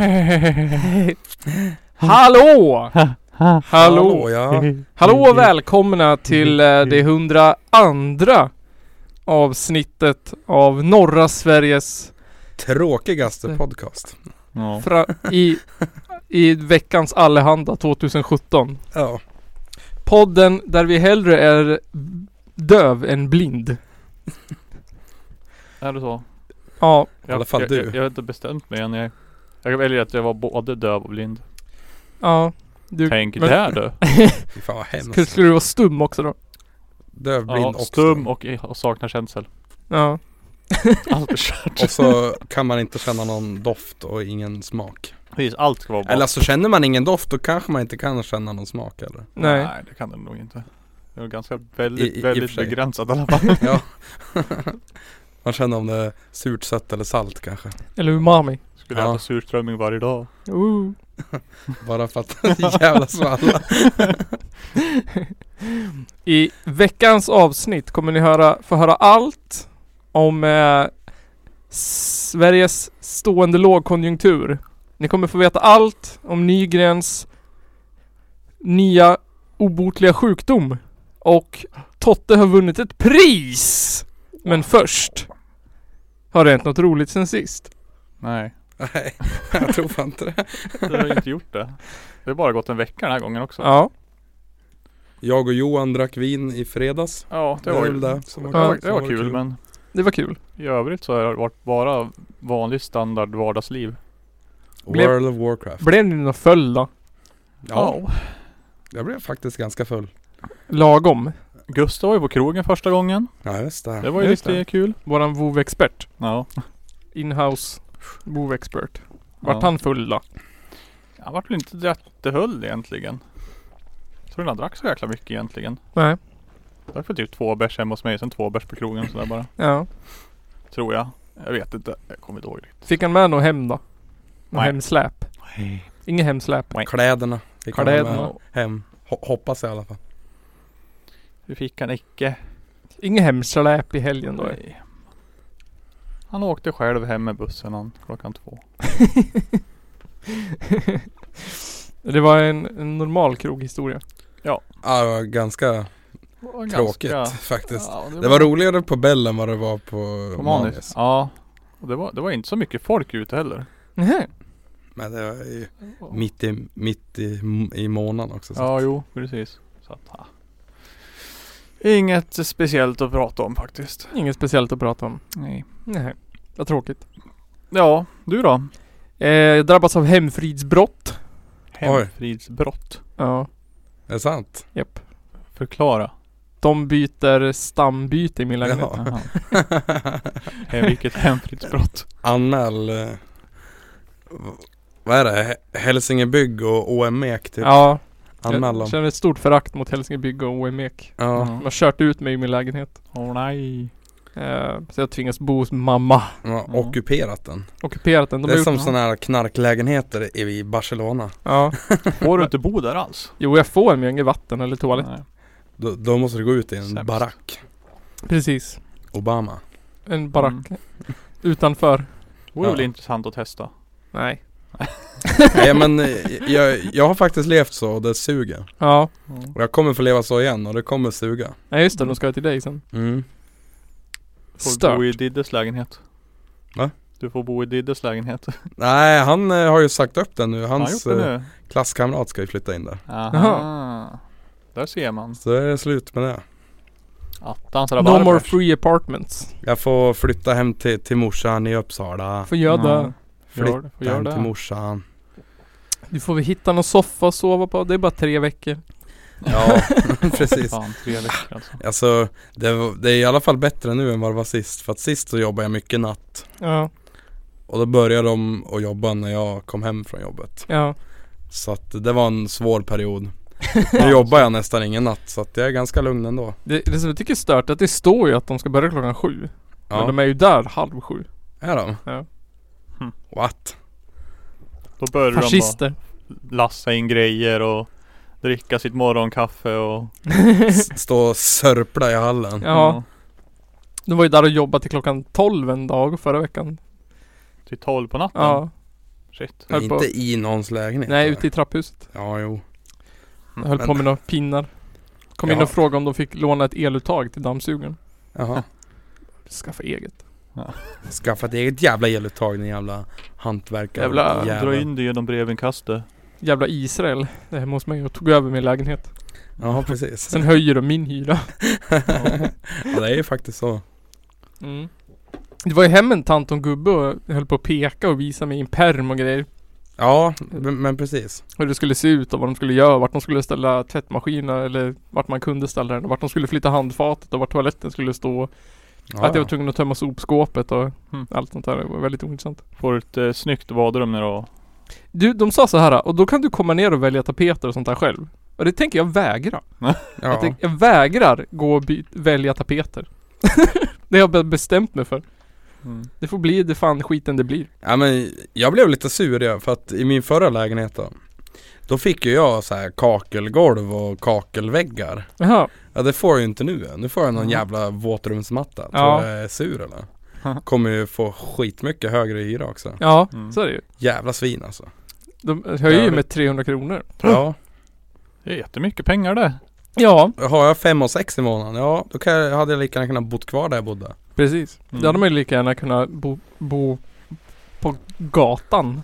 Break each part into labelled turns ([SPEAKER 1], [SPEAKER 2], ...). [SPEAKER 1] Hallå! Hallå!
[SPEAKER 2] ja.
[SPEAKER 1] Hallå och välkomna till eh, det 102 avsnittet av norra Sveriges
[SPEAKER 2] Tråkigaste podcast.
[SPEAKER 3] Ja.
[SPEAKER 1] fra- i, i veckans allehanda 2017.
[SPEAKER 2] Ja.
[SPEAKER 1] Podden där vi hellre är döv än blind.
[SPEAKER 3] Är det så?
[SPEAKER 1] Ja,
[SPEAKER 3] Jag,
[SPEAKER 2] alla fall
[SPEAKER 3] jag,
[SPEAKER 2] du.
[SPEAKER 3] Jag, jag har inte bestämt mig än. Jag, jag väljer att jag var både döv och blind.
[SPEAKER 1] ja. Du,
[SPEAKER 3] Tänk
[SPEAKER 1] men-
[SPEAKER 3] där du!
[SPEAKER 2] Fy fan vad
[SPEAKER 1] Skulle,
[SPEAKER 2] hemskt.
[SPEAKER 1] skulle du vara stum också då?
[SPEAKER 2] Dövblind
[SPEAKER 3] Ja,
[SPEAKER 2] också.
[SPEAKER 3] stum och, och saknar känsel.
[SPEAKER 1] Ja.
[SPEAKER 3] Allt är kört.
[SPEAKER 2] Och så kan man inte känna någon doft och ingen smak.
[SPEAKER 3] Precis, allt ska vara bra.
[SPEAKER 2] Eller så känner man ingen doft då kanske man inte kan känna någon smak eller?
[SPEAKER 1] Nej.
[SPEAKER 3] det kan det nog inte. Det är ganska väldigt,
[SPEAKER 2] I- i- i och
[SPEAKER 3] väldigt
[SPEAKER 2] för sig.
[SPEAKER 3] begränsat i alla fall.
[SPEAKER 2] Ja. man känner om det är surt, sött eller salt kanske.
[SPEAKER 1] Eller umami.
[SPEAKER 3] Skulle
[SPEAKER 2] Ja.
[SPEAKER 3] äta surströmming varje dag.
[SPEAKER 1] Ooh.
[SPEAKER 2] Bara för att jävlas med alla.
[SPEAKER 1] I veckans avsnitt kommer ni höra, få höra allt om eh, Sveriges stående lågkonjunktur. Ni kommer få veta allt om Nygrens nya obotliga sjukdom. Och Totte har vunnit ett pris! Men först har det hänt något roligt sen sist.
[SPEAKER 3] Nej,
[SPEAKER 2] Nej, jag tror fan inte det.
[SPEAKER 3] det har jag inte gjort det. Det har bara gått en vecka den här gången också.
[SPEAKER 1] Ja.
[SPEAKER 2] Jag och Johan drack vin i fredags.
[SPEAKER 3] Ja, det,
[SPEAKER 2] Det är
[SPEAKER 3] var,
[SPEAKER 2] väl
[SPEAKER 3] ju-
[SPEAKER 2] det som var-
[SPEAKER 3] det var,
[SPEAKER 2] som
[SPEAKER 3] det var
[SPEAKER 2] var
[SPEAKER 3] kul,
[SPEAKER 2] kul.
[SPEAKER 3] men
[SPEAKER 1] Det var kul.
[SPEAKER 3] i övrigt så har det varit bara vanlig standard vardagsliv.
[SPEAKER 1] Blev-
[SPEAKER 2] World of Warcraft.
[SPEAKER 1] Blev ni någon full då?
[SPEAKER 2] Ja, jag blev faktiskt ganska full.
[SPEAKER 1] Lagom.
[SPEAKER 3] Gustav var ju på krogen första gången.
[SPEAKER 2] Ja just det.
[SPEAKER 3] Det var ju
[SPEAKER 1] Just
[SPEAKER 3] lite
[SPEAKER 1] det.
[SPEAKER 3] kul.
[SPEAKER 1] Våran vovexpert.
[SPEAKER 3] Ja.
[SPEAKER 1] Inhouse vovexpert. Vart
[SPEAKER 3] Ja.
[SPEAKER 1] han full då?
[SPEAKER 3] Han vart väl inte jättehöll egentligen. Jag tror inte han drack så jäkla mycket egentligen.
[SPEAKER 1] Nej.
[SPEAKER 3] Jag drack väl typ två bärs hemma hos mig, sen två bärs på krogen och sådär bara.
[SPEAKER 1] Ja.
[SPEAKER 3] Tror jag. Jag vet inte. Jag kommer inte ihåg riktigt.
[SPEAKER 1] Fick han med något hem då? Något
[SPEAKER 3] Nej.
[SPEAKER 1] hemsläp? Inget hemsläp?
[SPEAKER 2] Kläderna. fick man ha med
[SPEAKER 1] Kläderna.
[SPEAKER 2] Hem. Ho- hoppas jag i alla fall.
[SPEAKER 3] Vi fick han icke.
[SPEAKER 1] Inget hemsläp i helgen då?
[SPEAKER 3] Nej. Han åkte själv hem med bussen han, klockan två.
[SPEAKER 1] det var en, en normal kroghistoria.
[SPEAKER 2] Ja, det var ganska
[SPEAKER 3] Det var
[SPEAKER 2] tråkigt
[SPEAKER 3] ganska-
[SPEAKER 2] faktiskt.
[SPEAKER 3] Ja,
[SPEAKER 2] Det var roligare på Bell än vad det var på,
[SPEAKER 3] På
[SPEAKER 2] Manis.
[SPEAKER 3] manus. Ja. Och det var, det var inte så mycket folk ute heller.
[SPEAKER 1] Nej.
[SPEAKER 2] Men det var ju mitt i, mitt i, i månaden också. Så.
[SPEAKER 3] Ja, jo, precis. Så att, ja. Inget speciellt att prata om faktiskt.
[SPEAKER 1] Inget speciellt att prata om.
[SPEAKER 3] Nej.
[SPEAKER 1] Nej. Vad tråkigt.
[SPEAKER 3] Ja, du då?
[SPEAKER 1] Eh, jag drabbas av hemfridsbrott.
[SPEAKER 3] Hemfridsbrott.
[SPEAKER 1] Ja.
[SPEAKER 2] Är det sant?
[SPEAKER 1] Japp.
[SPEAKER 3] Förklara.
[SPEAKER 1] De byter stambyte i min lägenhet.
[SPEAKER 2] Ja.
[SPEAKER 3] Jaha. Hem- Vilket hemfridsbrott.
[SPEAKER 2] Anmäl... eh, v- Vad är det? He- Hälsingebygg och OM-ek typ?
[SPEAKER 1] Ja,
[SPEAKER 2] Anmäl
[SPEAKER 1] jag
[SPEAKER 2] dem.
[SPEAKER 1] känner ett stort förakt mot Hälsingebygg och OMEK.
[SPEAKER 2] Ja.
[SPEAKER 1] De
[SPEAKER 3] Ja.
[SPEAKER 1] har kört ut mig i min lägenhet.
[SPEAKER 3] Åh nej.
[SPEAKER 1] Eh, så jag tvingas bo hos mamma.
[SPEAKER 2] De har
[SPEAKER 3] Ja.
[SPEAKER 2] ockuperat den.
[SPEAKER 1] Ockuperat den. De
[SPEAKER 2] det
[SPEAKER 1] har
[SPEAKER 2] är
[SPEAKER 1] gjort-
[SPEAKER 2] som sådana här knarklägenheter i i Barcelona.
[SPEAKER 1] Ja.
[SPEAKER 3] Får du inte bo där alls?
[SPEAKER 1] Jo, jag får men jag har inget vatten eller toalett.
[SPEAKER 3] Nej.
[SPEAKER 2] Då, då måste du gå ut i en
[SPEAKER 3] Sämst.
[SPEAKER 2] barack.
[SPEAKER 1] Precis.
[SPEAKER 2] Obama.
[SPEAKER 1] En barack. Utanför.
[SPEAKER 3] Det vore
[SPEAKER 2] Ja.
[SPEAKER 3] väl intressant att testa.
[SPEAKER 1] Nej.
[SPEAKER 2] Nej men eh, jag, jag har faktiskt levt så och det suger.
[SPEAKER 1] Ja.
[SPEAKER 2] Och jag kommer få leva så igen och det kommer suga.
[SPEAKER 1] Nej just det, de ska jag till dig sen.
[SPEAKER 2] Mm.
[SPEAKER 3] Får du bo
[SPEAKER 1] Stört.
[SPEAKER 3] i Diddes lägenhet.
[SPEAKER 2] Va?
[SPEAKER 3] Du får bo i Diddes lägenhet.
[SPEAKER 2] Nej han eh, har ju sagt upp den nu.
[SPEAKER 3] Har han
[SPEAKER 2] Hans
[SPEAKER 3] gjort
[SPEAKER 2] eh,
[SPEAKER 3] det nu?
[SPEAKER 2] klasskamrat ska ju flytta in där.
[SPEAKER 3] Aha. Där ser man.
[SPEAKER 2] Så är det slut med det.
[SPEAKER 3] Attans
[SPEAKER 1] No
[SPEAKER 3] rabarber.
[SPEAKER 1] more free apartments.
[SPEAKER 2] Jag får flytta hem till, till morsan i Uppsala.
[SPEAKER 1] Får jag
[SPEAKER 3] Ja.
[SPEAKER 1] det.
[SPEAKER 3] Gör, det,
[SPEAKER 2] Flytta
[SPEAKER 3] gör
[SPEAKER 2] hem till
[SPEAKER 3] det.
[SPEAKER 2] morsan.
[SPEAKER 1] Du får väl hitta någon soffa att sova på. Det är bara tre veckor.
[SPEAKER 2] Ja, precis.
[SPEAKER 3] Fan, tre veckor alltså.
[SPEAKER 2] Alltså det, var- det är i alla fall bättre nu än vad det var sist. För att sist så jobbade jag mycket natt.
[SPEAKER 1] Ja.
[SPEAKER 2] Och då började de att jobba när jag kom hem från jobbet.
[SPEAKER 1] Ja.
[SPEAKER 2] Så att det var en svår period. Nu jobbar jag nästan ingen natt så att jag är ganska lugn ändå.
[SPEAKER 1] Det, det som jag tycker är stört är att det står ju att de ska börja klockan sju. Men
[SPEAKER 2] Ja,
[SPEAKER 1] de är ju där halv sju.
[SPEAKER 2] är de?
[SPEAKER 1] Ja. Hm.
[SPEAKER 3] Hmm.
[SPEAKER 2] What?
[SPEAKER 3] Då börjar de bara
[SPEAKER 1] Fascister.
[SPEAKER 3] lassa in grejer och Dricka sitt morgonkaffe och...
[SPEAKER 2] S- Stå och sörpla i hallen.
[SPEAKER 3] Mm.
[SPEAKER 1] Ja, du var ju där och jobbade till klockan 12 en dag förra veckan.
[SPEAKER 3] Till tolv på natten?
[SPEAKER 1] Ja,
[SPEAKER 3] Shit.
[SPEAKER 2] Men
[SPEAKER 1] höll på-
[SPEAKER 2] inte i någons lägenhet.
[SPEAKER 1] nej
[SPEAKER 2] eller?
[SPEAKER 1] ute i trapphuset.
[SPEAKER 2] Ja, jo.
[SPEAKER 1] Jag höll
[SPEAKER 2] Men-
[SPEAKER 1] på med några pinnar. Kom in
[SPEAKER 2] Jaha.
[SPEAKER 1] och frågade om de fick låna ett eluttag till dammsugaren.
[SPEAKER 2] Jaha.
[SPEAKER 1] Skaffa eget.
[SPEAKER 2] Skaffa ett eget jävla eluttag din jävla hantverkare.
[SPEAKER 1] Jävla-
[SPEAKER 2] jävel.
[SPEAKER 3] Dra in det genom brevinkastet.
[SPEAKER 1] Jävla Israel. Det här måste man ju tog över min lägenhet.
[SPEAKER 2] Ja, precis.
[SPEAKER 1] Sen höjer de min hyra.
[SPEAKER 2] ja, det är ju faktiskt så.
[SPEAKER 1] Mm. Det var ju hem en tant och en gubbe och höll på att peka och visa mig i en perm och grejer.
[SPEAKER 2] Ja, men men precis.
[SPEAKER 1] Hur det skulle se ut och vad de skulle göra, vart de skulle ställa tvättmaskinen eller vart man kunde ställa den. och Vart de skulle flytta handfatet och vart toaletten skulle stå.
[SPEAKER 2] Ja,
[SPEAKER 1] att jag
[SPEAKER 2] ja.
[SPEAKER 1] var tvungen att tömma sopskåpet och
[SPEAKER 3] Mm.
[SPEAKER 1] allt sånt där. Det var väldigt ointressant.
[SPEAKER 3] Får ett eh, snyggt badrum nu då.
[SPEAKER 1] Du, de sa så här och då kan du komma ner och välja tapeter och sånt där själv. Och det tänker jag vägra.
[SPEAKER 2] ja.
[SPEAKER 1] Jag, tänker, jag vägrar gå och by- välja tapeter. det har jag bestämt mig för.
[SPEAKER 3] Mm.
[SPEAKER 1] Det får bli det fan skiten det blir.
[SPEAKER 2] Ja men jag blev lite sur ja, för att i min förra lägenhet då Då fick ju jag så här kakelgolv och kakelväggar
[SPEAKER 1] Jaha.
[SPEAKER 2] Ja det får jag ju inte nu ja. nu får jag någon
[SPEAKER 3] Mm.
[SPEAKER 2] jävla våtrumsmatta Tror
[SPEAKER 1] Ja.
[SPEAKER 2] jag är sur eller? Kommer ju få skitmycket högre hyra också
[SPEAKER 1] Ja,
[SPEAKER 3] Mm.
[SPEAKER 1] så är det ju.
[SPEAKER 2] Jävla svin alltså
[SPEAKER 1] De höjer ju
[SPEAKER 2] Ja, det-
[SPEAKER 1] med 300 kronor.
[SPEAKER 2] Ja,
[SPEAKER 3] Det är jättemycket pengar det.
[SPEAKER 1] Ja,
[SPEAKER 2] har jag fem och sex i månaden? Ja, då kan jag, hade jag lika gärna kunnat bott kvar där jag bodde
[SPEAKER 1] precis.
[SPEAKER 3] Mm.
[SPEAKER 1] Då hade man ju lika gärna kunnat bo, bo på gatan.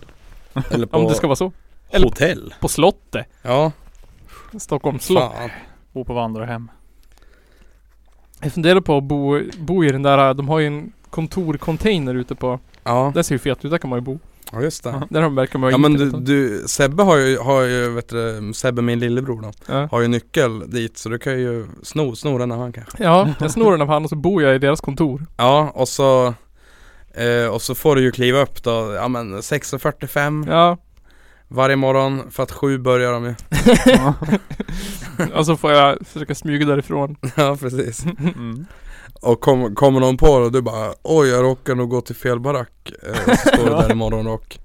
[SPEAKER 2] Eller
[SPEAKER 1] Om
[SPEAKER 2] på
[SPEAKER 1] det ska vara så. eller-
[SPEAKER 2] hotell
[SPEAKER 1] På slottet.
[SPEAKER 2] Ja,
[SPEAKER 1] Stockholms slott.
[SPEAKER 2] fan
[SPEAKER 3] Bo på vandrarhem.
[SPEAKER 1] Jag funderar på att bo, bo i den där, de har ju en kontorcontainer ute på.
[SPEAKER 2] Ja,
[SPEAKER 1] Den ser ju fet ut, där kan man ju bo.
[SPEAKER 2] ja just det
[SPEAKER 3] Ja.
[SPEAKER 1] Där har- verkar man ju
[SPEAKER 2] Ja men du,
[SPEAKER 1] internet.
[SPEAKER 2] du Sebbe har ju, har ju vet du, Sebbe min lillebror då
[SPEAKER 1] Ja.
[SPEAKER 2] har ju nyckel dit så du kan ju sno, sno den av han kanske.
[SPEAKER 1] ja, jag snor den av han och så bor jag i deras kontor.
[SPEAKER 2] Ja och så eh, Och så får du ju kliva upp då, ja men 6.45
[SPEAKER 1] Ja,
[SPEAKER 2] varje morgon för att sju börjar de ju.
[SPEAKER 3] Ja.
[SPEAKER 1] och så Alltså, får jag försöka smyga därifrån.
[SPEAKER 2] ja precis.
[SPEAKER 3] Mm.
[SPEAKER 2] Och kom, kommer någon på och du bara oj jag råkar nog gå till fel barack. Eh, och så står du där i morgonrock.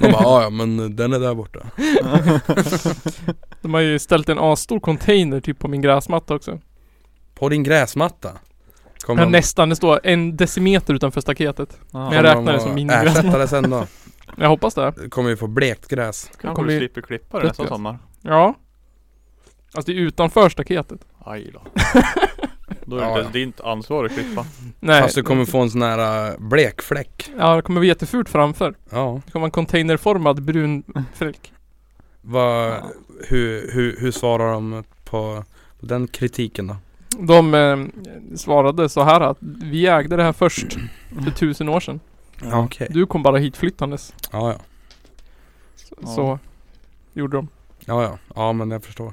[SPEAKER 2] De bara "Ja, ja men den är där borta.
[SPEAKER 1] De har ju ställt en asstor container typ på min gräsmatta också.
[SPEAKER 2] På din gräsmatta. Kommer
[SPEAKER 1] Ja,
[SPEAKER 2] de-
[SPEAKER 1] nästan, det står en decimeter utanför staketet. Men
[SPEAKER 3] Ja.
[SPEAKER 1] jag
[SPEAKER 2] kommer de
[SPEAKER 1] räknar det
[SPEAKER 2] att
[SPEAKER 1] som
[SPEAKER 2] Ersätta
[SPEAKER 1] minigräsmatta.
[SPEAKER 2] det sen då.
[SPEAKER 1] Jag hoppas det.
[SPEAKER 2] Du kommer ju få blekt gräs.
[SPEAKER 3] Kanske
[SPEAKER 1] kommer
[SPEAKER 3] du
[SPEAKER 1] ju-
[SPEAKER 3] slipper klippa det nästa
[SPEAKER 1] Frukost.
[SPEAKER 3] sommar.
[SPEAKER 1] Ja. Alltså det är utanför staketet.
[SPEAKER 3] Aj då. Då är
[SPEAKER 2] Ja,
[SPEAKER 3] det inte
[SPEAKER 2] ja.
[SPEAKER 3] ens ditt ansvar att klippa.
[SPEAKER 1] Nej.
[SPEAKER 2] Fast du kommer få en sån här eh, blek fläck.
[SPEAKER 1] Ja, det kommer vara jättefult framför.
[SPEAKER 2] Ja.
[SPEAKER 1] Det kommer vara en containerformad brun fläck.
[SPEAKER 2] Vad,
[SPEAKER 3] Ja.
[SPEAKER 2] hur, hur, hur svarar de på, på den kritiken då?
[SPEAKER 1] De eh, svarade så här att vi ägde det här först för tusen år sedan.
[SPEAKER 2] Ja, okej.
[SPEAKER 1] Du kom bara hit flyttandes.
[SPEAKER 2] Ja, ja.
[SPEAKER 1] Så,
[SPEAKER 3] Ja.
[SPEAKER 1] så gjorde de.
[SPEAKER 2] Ja, ja. Ja, men jag förstår.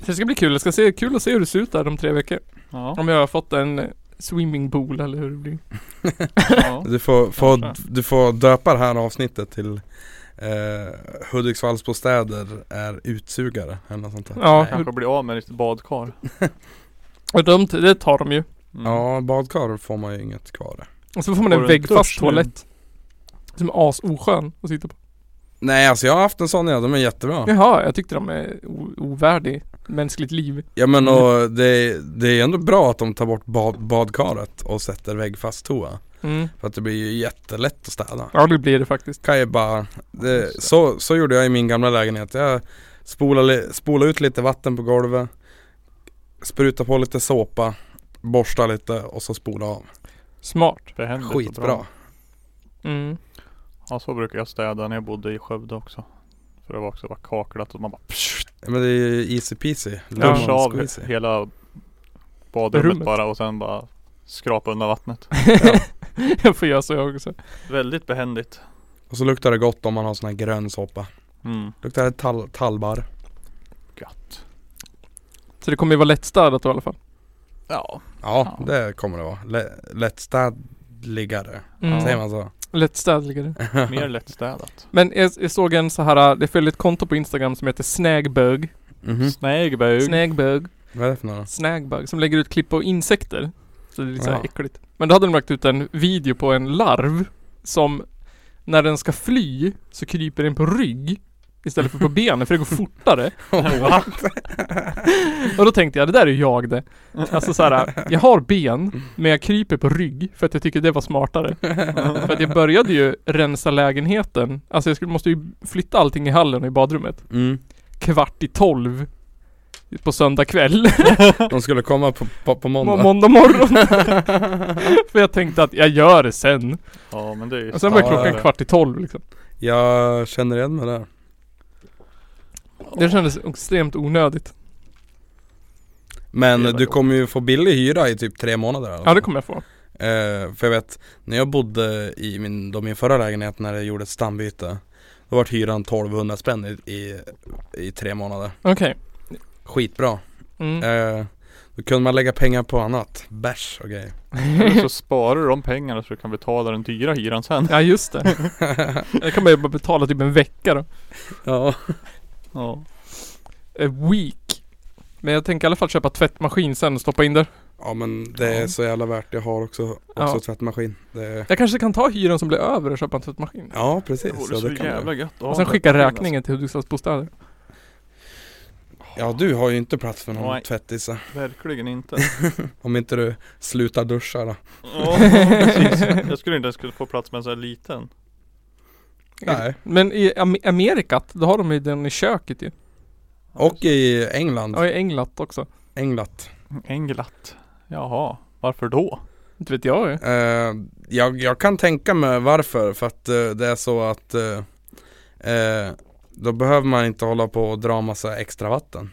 [SPEAKER 1] Så det ska bli kul. Det ska se kul att se hur det ser ut där om tre veckor.
[SPEAKER 3] Ja.
[SPEAKER 1] Om jag har fått en eh, swimmingpool eller hur det blir.
[SPEAKER 3] ja.
[SPEAKER 2] Du får, får,
[SPEAKER 3] Kanske.
[SPEAKER 2] du får döpa det här avsnittet till eh, Hudiksvallsbostäder är utsugare eller något sånt där.
[SPEAKER 1] Ja.
[SPEAKER 3] Kanske blir av med ditt badkar.
[SPEAKER 1] Och de, det tar de ju.
[SPEAKER 3] Mm.
[SPEAKER 2] Ja, badkar får man ju inget kvar.
[SPEAKER 1] Och så får man
[SPEAKER 3] Får
[SPEAKER 1] en
[SPEAKER 3] en
[SPEAKER 1] väggfast
[SPEAKER 3] dusch nu?
[SPEAKER 1] toalett. Som är asoskön att sitta på.
[SPEAKER 2] Nej, alltså jag har haft en sån ja, de är jättebra.
[SPEAKER 1] Jaha, jag tyckte de är o- ovärdig mänskligt liv.
[SPEAKER 2] Ja men och det, det är ändå bra att de tar bort bad, badkaret och sätter väggfast toa.
[SPEAKER 1] Mm.
[SPEAKER 2] För att det blir ju jättelätt att städa.
[SPEAKER 1] Ja det blir det faktiskt.
[SPEAKER 2] kan jag bara,
[SPEAKER 3] Just
[SPEAKER 2] det,
[SPEAKER 3] det.
[SPEAKER 2] så, så gjorde jag i min gamla lägenhet. Jag spolade, spolade ut lite vatten på golvet, sprutade på lite såpa, borstade lite och så spolade av.
[SPEAKER 1] Smart.
[SPEAKER 3] Behändigt och
[SPEAKER 2] Skitbra.
[SPEAKER 1] Mm.
[SPEAKER 3] Ja så brukar jag städa när jag bodde i Skövde också. För det var också bara kaklat och man bara pssst,
[SPEAKER 2] Ja, men det är ju easy peasy.
[SPEAKER 1] Ja.
[SPEAKER 3] duscha
[SPEAKER 2] Lemon
[SPEAKER 3] av
[SPEAKER 2] squeezy.
[SPEAKER 3] hela badrummet
[SPEAKER 1] Rummet.
[SPEAKER 3] bara och sen bara skrapa undan vattnet.
[SPEAKER 1] jag får göra så jag också.
[SPEAKER 3] Väldigt behändigt.
[SPEAKER 2] Och så luktar det gott om man har sån här grön såpa.
[SPEAKER 3] Mm.
[SPEAKER 2] Luktar det tall, tallbar.
[SPEAKER 3] Gött.
[SPEAKER 1] Så det kommer ju vara lättstädat då i alla fall.
[SPEAKER 3] Ja.
[SPEAKER 2] Ja,
[SPEAKER 3] Ja.
[SPEAKER 2] det kommer det vara. Lä, lättstädligare.
[SPEAKER 1] Mm.
[SPEAKER 2] Säger man så?
[SPEAKER 1] Lättstädligare.
[SPEAKER 3] Mer lättstädat.
[SPEAKER 1] Men jag, jag såg en så här, det följde ett konto på Instagram som heter Snägbög. Mm.
[SPEAKER 2] Mhm.
[SPEAKER 3] Snägbög.
[SPEAKER 1] Snägbög.
[SPEAKER 2] Vad är det för några?
[SPEAKER 1] Snägbög. Som lägger ut klipp på insekter. Så det är lite så här
[SPEAKER 2] Ja.
[SPEAKER 1] äckligt. Men då hade de lagt ut en video på en larv som när den ska fly så kryper den på rygg. istället för på benen för det går fortare.
[SPEAKER 3] Va?
[SPEAKER 1] Och då tänkte jag, det där är ju jag det. Alltså så här, jag har ben men jag kryper på rygg för att jag tycker det var smartare. För att jag började ju rensa lägenheten. Alltså jag skulle, måste ju flytta allting i hallen och i badrummet.
[SPEAKER 2] Mm.
[SPEAKER 1] Kvart i tolv på söndag kväll,
[SPEAKER 2] De skulle komma på, på, på
[SPEAKER 1] måndag, måndag
[SPEAKER 2] måndag.
[SPEAKER 1] morgon. för jag tänkte att jag gör det sen.
[SPEAKER 3] Ja men det är ju
[SPEAKER 1] Och sen var
[SPEAKER 2] Ja,
[SPEAKER 1] klockan
[SPEAKER 2] ja.
[SPEAKER 1] kvart i tolv liksom.
[SPEAKER 2] Jag känner igen mig där.
[SPEAKER 1] Det kändes extremt onödigt.
[SPEAKER 2] Men
[SPEAKER 3] Det var
[SPEAKER 2] du
[SPEAKER 3] jobbigt.
[SPEAKER 2] kommer ju få billig hyra i typ tre månader. Alltså.
[SPEAKER 1] Ja det kommer jag få.
[SPEAKER 2] Eh, för jag vet, när jag bodde i min, då min förra lägenhet när jag gjorde ett stambyte Då vart hyran 1200 spänn i, i, i tre månader
[SPEAKER 1] Okej.
[SPEAKER 2] Skitbra
[SPEAKER 1] Mm.
[SPEAKER 2] eh, Då kunde man lägga pengar på annat, bärs och grejer
[SPEAKER 3] Eller så sparar du de pengarna så du kan betala den dyra hyran sen.
[SPEAKER 1] Ja just det. Det kan man ju bara betala typ en vecka då.
[SPEAKER 2] Ja,
[SPEAKER 3] Ja.
[SPEAKER 1] A week. Men jag tänker i alla fall köpa tvättmaskin sen och stoppa in där.
[SPEAKER 2] ja men det är
[SPEAKER 3] Ja.
[SPEAKER 2] så jävla värt Jag har också, också
[SPEAKER 1] Ja.
[SPEAKER 2] tvättmaskin det,
[SPEAKER 1] Jag kanske kan ta hyran som blir över och köpa en tvättmaskin.
[SPEAKER 2] Ja
[SPEAKER 3] Det
[SPEAKER 2] precis
[SPEAKER 3] vore
[SPEAKER 2] ja,
[SPEAKER 3] så
[SPEAKER 2] det kan
[SPEAKER 3] jävla
[SPEAKER 2] man.
[SPEAKER 3] gött att ha
[SPEAKER 1] Och sen
[SPEAKER 3] en
[SPEAKER 1] skicka
[SPEAKER 3] räkning,
[SPEAKER 1] räkningen till Hudiksvalls bostäder.
[SPEAKER 2] ja du har ju inte plats för någon
[SPEAKER 3] Nej.
[SPEAKER 2] tvättisa
[SPEAKER 3] alltså. Verkligen inte.
[SPEAKER 2] Om inte du slutar duscha då
[SPEAKER 3] Ja precis. Jag skulle inte ens kunna få plats med en sån här liten.
[SPEAKER 2] Nej.
[SPEAKER 1] Men i Am- Amerikat, då har de ju den i köket
[SPEAKER 2] Mm.
[SPEAKER 1] ju.
[SPEAKER 2] Och i England,
[SPEAKER 1] Ja i England också.
[SPEAKER 2] Englat
[SPEAKER 3] En glatt. Jaha. Varför då?
[SPEAKER 1] Inte vet jag ju.
[SPEAKER 2] Eh, jag, jag kan tänka mig varför, för att eh, det är så att eh, eh, då behöver man inte hålla på och dra massa extra vatten.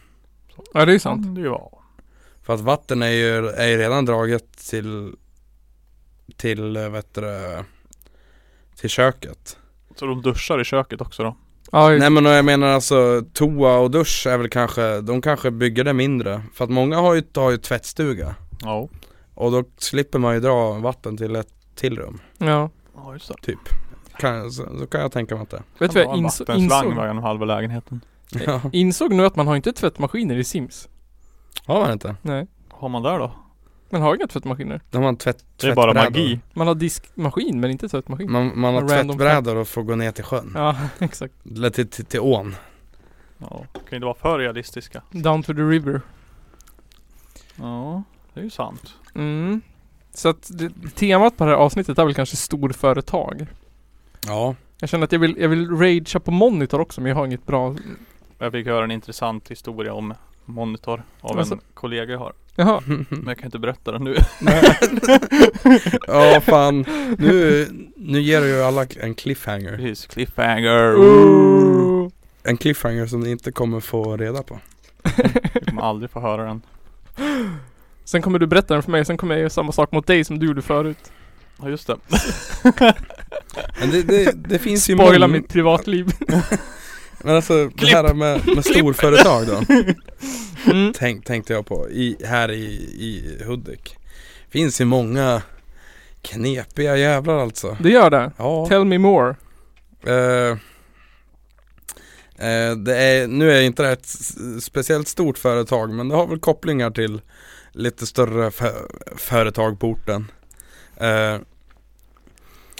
[SPEAKER 1] Ja det är ju sant.
[SPEAKER 3] Kan Det var.
[SPEAKER 2] För att vatten är ju, är ju redan draget till, till, eh, vet du, det, till köket.
[SPEAKER 3] Så de duschar i köket också då?
[SPEAKER 1] Ja, ju-
[SPEAKER 2] Nej men jag menar alltså toa och dusch är väl kanske, de kanske bygger det mindre. För att många har ju, har ju tvättstuga
[SPEAKER 3] Ja.
[SPEAKER 2] och då slipper man ju dra vatten till ett till rum.
[SPEAKER 1] ja.
[SPEAKER 3] Ja just det.
[SPEAKER 2] Kan, så, så kan jag tänka mig att det.
[SPEAKER 1] Vet du
[SPEAKER 3] Kan
[SPEAKER 1] vad jag
[SPEAKER 3] bara ha en
[SPEAKER 1] inså,
[SPEAKER 3] vattenslang
[SPEAKER 1] insåg?
[SPEAKER 3] genom halva lägenheten.
[SPEAKER 2] Ja.
[SPEAKER 1] Insåg nu att man har inte tvättmaskiner i Sims.
[SPEAKER 2] Har man inte?
[SPEAKER 1] Nej.
[SPEAKER 3] Vad har man där då?
[SPEAKER 1] Man har inga tvättmaskiner.
[SPEAKER 2] Då har man tvätt,
[SPEAKER 3] Det är bara
[SPEAKER 2] tvättbrädor.
[SPEAKER 3] magi.
[SPEAKER 1] Man har diskmaskin men inte tvättmaskin.
[SPEAKER 2] Man, man har
[SPEAKER 1] Och random
[SPEAKER 2] tvättbrädor och får gå ner till sjön.
[SPEAKER 1] Ja exakt.
[SPEAKER 2] Eller till, till, till ån.
[SPEAKER 3] Ja. Kan inte vara för realistiska.
[SPEAKER 1] Down to the river.
[SPEAKER 3] Ja. Det är ju sant.
[SPEAKER 1] Mm. Så att det, temat på det här avsnittet är väl kanske storföretag.
[SPEAKER 2] Ja.
[SPEAKER 1] Jag känner att jag vill, jag vill ragea på monitor också men jag har inget bra...
[SPEAKER 3] Jag fick höra en intressant historia om monitor av
[SPEAKER 1] Alltså.
[SPEAKER 3] en kollega jag har.
[SPEAKER 1] Jaha.
[SPEAKER 3] Men jag kan inte berätta den nu.
[SPEAKER 2] ja fan. Nu, nu ger du ju alla en cliffhanger.
[SPEAKER 3] Precis, cliffhanger.
[SPEAKER 1] Ooh.
[SPEAKER 2] En cliffhanger som ni inte kommer få reda på.
[SPEAKER 3] Vi kommer aldrig få höra den.
[SPEAKER 1] Sen kommer du berätta den för mig, sen kommer jag göra samma sak mot dig som du gjorde förut.
[SPEAKER 3] Ja just det.
[SPEAKER 2] Men det, det, det finns ju
[SPEAKER 1] Spoila
[SPEAKER 2] mång-
[SPEAKER 1] mitt privatliv.
[SPEAKER 2] Men alltså det här med, med storföretag då.
[SPEAKER 1] Mm.
[SPEAKER 2] Tänk, tänkte jag på. I, här i, i Hudik. Finns ju många knepiga jävlar alltså.
[SPEAKER 1] Det gör det.
[SPEAKER 2] Ja.
[SPEAKER 1] Tell me more.
[SPEAKER 2] Eh, eh, det är, nu är inte det ett s- speciellt stort företag men det har väl kopplingar till lite större fö- företag på orten. Eh,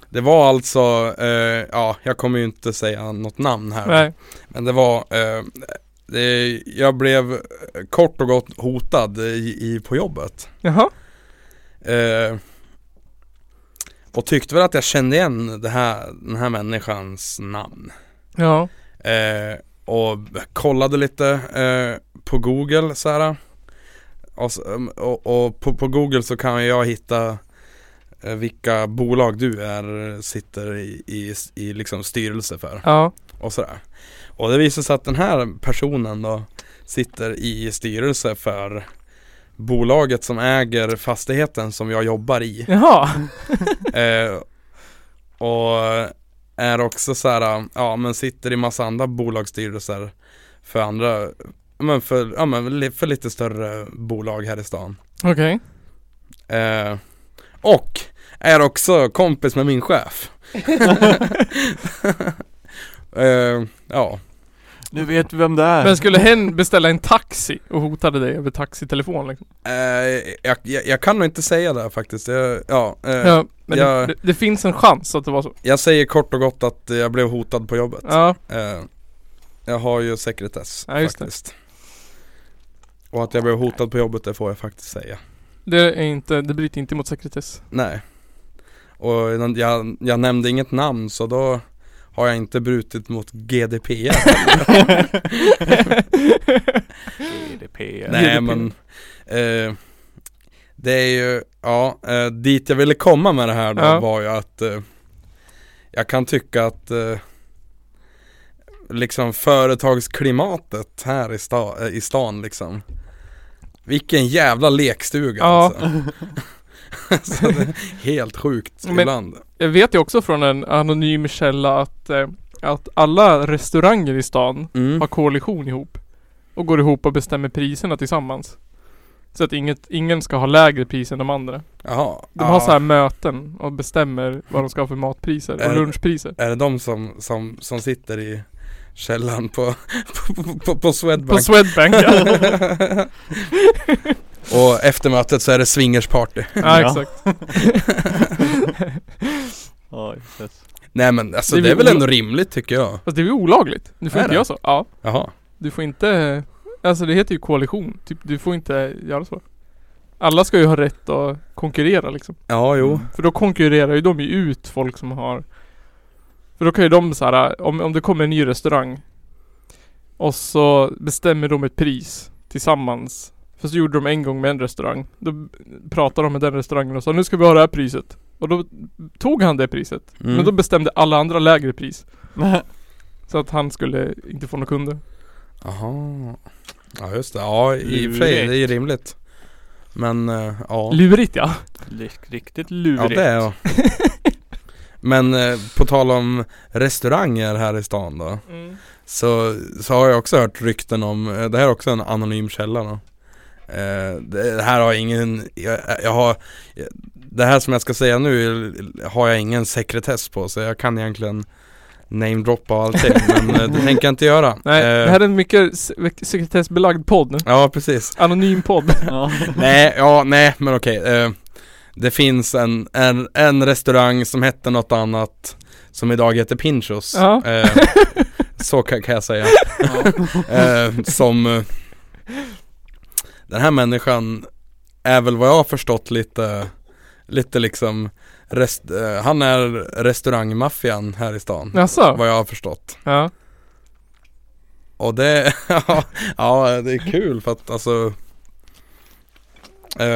[SPEAKER 2] det var alltså, eh, ja jag kommer ju inte säga något namn här.
[SPEAKER 1] Nej.
[SPEAKER 2] Men det var, eh, det, jag blev kort och gott hotad i, i, på jobbet.
[SPEAKER 1] Jaha.
[SPEAKER 2] Eh, och tyckte väl att jag kände igen det här, den här människans namn.
[SPEAKER 1] Ja.
[SPEAKER 2] Eh, och kollade lite eh, på Google så här. Och, så- mm, och, och på, på Google så kan jag hitta eh, vilka bolag du är, sitter i, i, i liksom styrelse för
[SPEAKER 1] Ja.
[SPEAKER 2] och sådär. Och det visar sig att den här personen då sitter i styrelse för bolaget som äger fastigheten som jag jobbar i.
[SPEAKER 1] Jaha.
[SPEAKER 2] Eh, och är också så här, um, ja men sitter i massa andra bolagsstyrelser för andra, ja, men för, ja, men li- för lite större bolag här i stan.
[SPEAKER 1] Okej.
[SPEAKER 2] Eh, och är också kompis med min chef. eh, ja,
[SPEAKER 3] Nu vet vi vem det är.
[SPEAKER 1] Men skulle hen beställa en taxi och hotade dig över taxitelefon liksom?
[SPEAKER 2] eh, jag, jag, jag kan nog inte säga det här faktiskt. Jag, ja, eh,
[SPEAKER 1] Ja. Men
[SPEAKER 2] jag-
[SPEAKER 1] det, det, det finns en chans att det var så.
[SPEAKER 2] jag säger kort och gott att jag blev hotad på jobbet.
[SPEAKER 1] Ja.
[SPEAKER 2] Eh, Jag har ju sekretess
[SPEAKER 1] Ja, just det.
[SPEAKER 2] faktiskt. Och att jag blev hotad på jobbet det får jag faktiskt säga.
[SPEAKER 1] Det är inte, det bryter inte mot sekretess.
[SPEAKER 2] Nej. Och jag, jag nämnde inget namn så då har jag inte brutit mot GDPR.
[SPEAKER 3] GDPR.
[SPEAKER 2] Nej men eh, Det är ju, ja, eh, dit jag ville komma med det här då
[SPEAKER 1] Ja.
[SPEAKER 2] var ju att eh, Jag kan tycka att eh, Liksom företagsklimatet här i, sta, eh, i stan liksom Vilken jävla lekstuga
[SPEAKER 1] Ja.
[SPEAKER 2] alltså. alltså det är helt sjukt
[SPEAKER 1] Men-
[SPEAKER 2] ibland
[SPEAKER 1] Jag vet ju också från en anonym källa att, eh, att alla restauranger i stan
[SPEAKER 2] mm.
[SPEAKER 1] har koalition ihop. Och går ihop och bestämmer priserna tillsammans. Så att inget, ingen ska ha lägre pris än de andra.
[SPEAKER 2] Jaha,
[SPEAKER 1] De
[SPEAKER 2] ja.
[SPEAKER 1] har så här möten och bestämmer vad de ska ha för matpriser och
[SPEAKER 2] Är-
[SPEAKER 1] lunchpriser.
[SPEAKER 2] Är det de som, som, som sitter i källaren på, på, på, på
[SPEAKER 1] På
[SPEAKER 2] Swedbank?
[SPEAKER 1] Swedbank ja.
[SPEAKER 2] Och efter mötet så är det swingersparty
[SPEAKER 1] ja
[SPEAKER 3] Ja.
[SPEAKER 1] exakt.
[SPEAKER 3] Ja, precis.
[SPEAKER 2] Nej men alltså
[SPEAKER 1] Det
[SPEAKER 2] det,
[SPEAKER 1] är
[SPEAKER 2] är
[SPEAKER 1] väl
[SPEAKER 2] väl ändå rimligt tycker jag
[SPEAKER 1] Fast det är ju olagligt. Du får
[SPEAKER 2] Är
[SPEAKER 1] inte
[SPEAKER 2] det?
[SPEAKER 1] göra så. Ja.
[SPEAKER 2] Jaha
[SPEAKER 1] Du får inte Alltså det heter ju koalition. Typ du får inte göra så. Alla ska ju ha rätt att konkurrera liksom.
[SPEAKER 2] Ja jo
[SPEAKER 1] För då konkurrerar ju de ju ut folk som har För då kan ju de så här, om, om det kommer en ny restaurang Och så bestämmer de ett pris tillsammans För så gjorde de en gång med en restaurang Då pratade de med den restaurangen och sa nu ska vi ha det här priset Och då tog han det priset
[SPEAKER 2] mm.
[SPEAKER 1] Men då bestämde alla andra lägre pris
[SPEAKER 3] Mm.
[SPEAKER 1] Så att han skulle inte få några kunder
[SPEAKER 2] Jaha Ja just det, ja i och för sig det är ju rimligt Men eh, ja
[SPEAKER 1] Lurigt ja!
[SPEAKER 3] Lik- Riktigt
[SPEAKER 2] Ja
[SPEAKER 3] lurigt.
[SPEAKER 2] det är jag Men eh, på tal om restauranger här i stan då Så, så har jag också hört rykten om, eh, det här är också en anonym källa då Eh, det här har jag ingen, jag, jag har, det här som jag ska säga nu har jag ingen sekretess på så jag kan egentligen namedroppa och allting men eh, det tänker jag inte göra
[SPEAKER 1] Nej,
[SPEAKER 2] Eh,
[SPEAKER 1] det här är en mycket se- sekretessbelagd podd
[SPEAKER 2] Ja precis
[SPEAKER 1] Anonym podd
[SPEAKER 3] Ja.
[SPEAKER 2] Nej, ja nej men okej eh, Det finns en, en, en restaurang som hette något annat Som idag heter Pinchos
[SPEAKER 1] Ja.
[SPEAKER 2] eh, Så kan, kan jag säga eh, Som eh, Den här människan är väl vad jag har förstått lite Lite liksom rest, eh, Han är restaurangmaffian här i stan
[SPEAKER 1] Jaså?
[SPEAKER 2] Vad jag har förstått
[SPEAKER 1] Ja
[SPEAKER 2] Och det, ja det är kul för att alltså eh,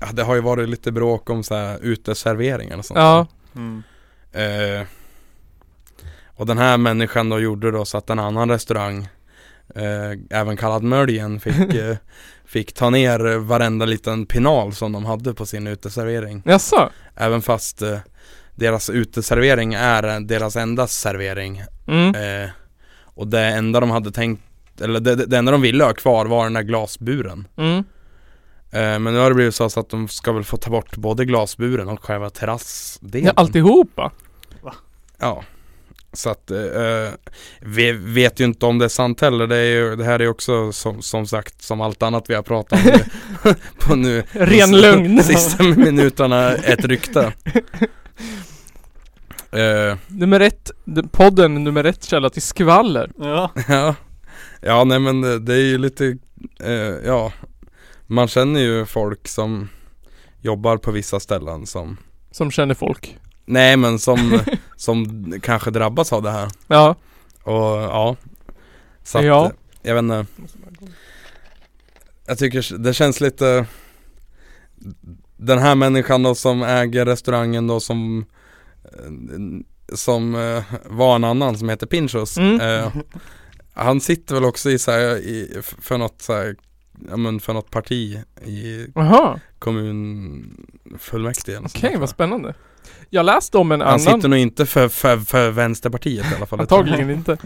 [SPEAKER 2] ja, Det har ju varit lite bråk om så här uteserveringar och sånt
[SPEAKER 1] Ja
[SPEAKER 3] Mm.
[SPEAKER 2] Eh, Och den här människan då gjorde då så att en annan restaurang eh, Även kallad Möljen fick, eh, fick ta ner varenda liten pinal som de hade på sin uteservering
[SPEAKER 1] Jaså?
[SPEAKER 2] Även fast eh, deras uteservering är deras enda servering
[SPEAKER 1] Mm.
[SPEAKER 2] Eh, och det enda de hade tänkt, eller det, det enda de ville ha kvar var den där glasburen.
[SPEAKER 1] Mm.
[SPEAKER 2] Eh, men nu har det blivit så att de ska väl få ta bort både glasburen och själva terrassdelen.
[SPEAKER 1] Ja, alltihopa?
[SPEAKER 2] Ja. Så att, eh, eh, vi vet ju inte om det är sant heller. Det, är ju, det här är ju också som, som sagt, som allt annat vi har pratat om nu- på nu.
[SPEAKER 1] Ren
[SPEAKER 2] de s-
[SPEAKER 1] lögn.
[SPEAKER 2] Sista minuterna, ett rykte. Eh,
[SPEAKER 1] Nummer ett, d- podden nummer ett källa till skvaller.
[SPEAKER 3] Ja.
[SPEAKER 2] Ja, ja nej men det, det är ju lite, eh, ja Man känner ju folk som jobbar på vissa ställen som
[SPEAKER 1] Som känner folk.
[SPEAKER 2] Nej men som, som kanske drabbas av det här
[SPEAKER 1] Ja.
[SPEAKER 2] och ja Så att,
[SPEAKER 1] Ja.
[SPEAKER 2] ja. jag vet inte Jag tycker det känns lite Den här människan då som äger restaurangen då som eh, Som eh, var en annan som heter Pinchos
[SPEAKER 1] Mm.
[SPEAKER 2] eh, Han sitter väl också i så här, i, för något så här, ja men för något parti i
[SPEAKER 1] Jaha.
[SPEAKER 2] kommunfullmäktige eller sånt
[SPEAKER 1] Okej,
[SPEAKER 2] där.
[SPEAKER 1] vad spännande. Jag läste om en
[SPEAKER 2] Han
[SPEAKER 1] annan.
[SPEAKER 2] sitter nog inte för, för, för Vänsterpartiet i alla fall
[SPEAKER 1] Antagligen inte.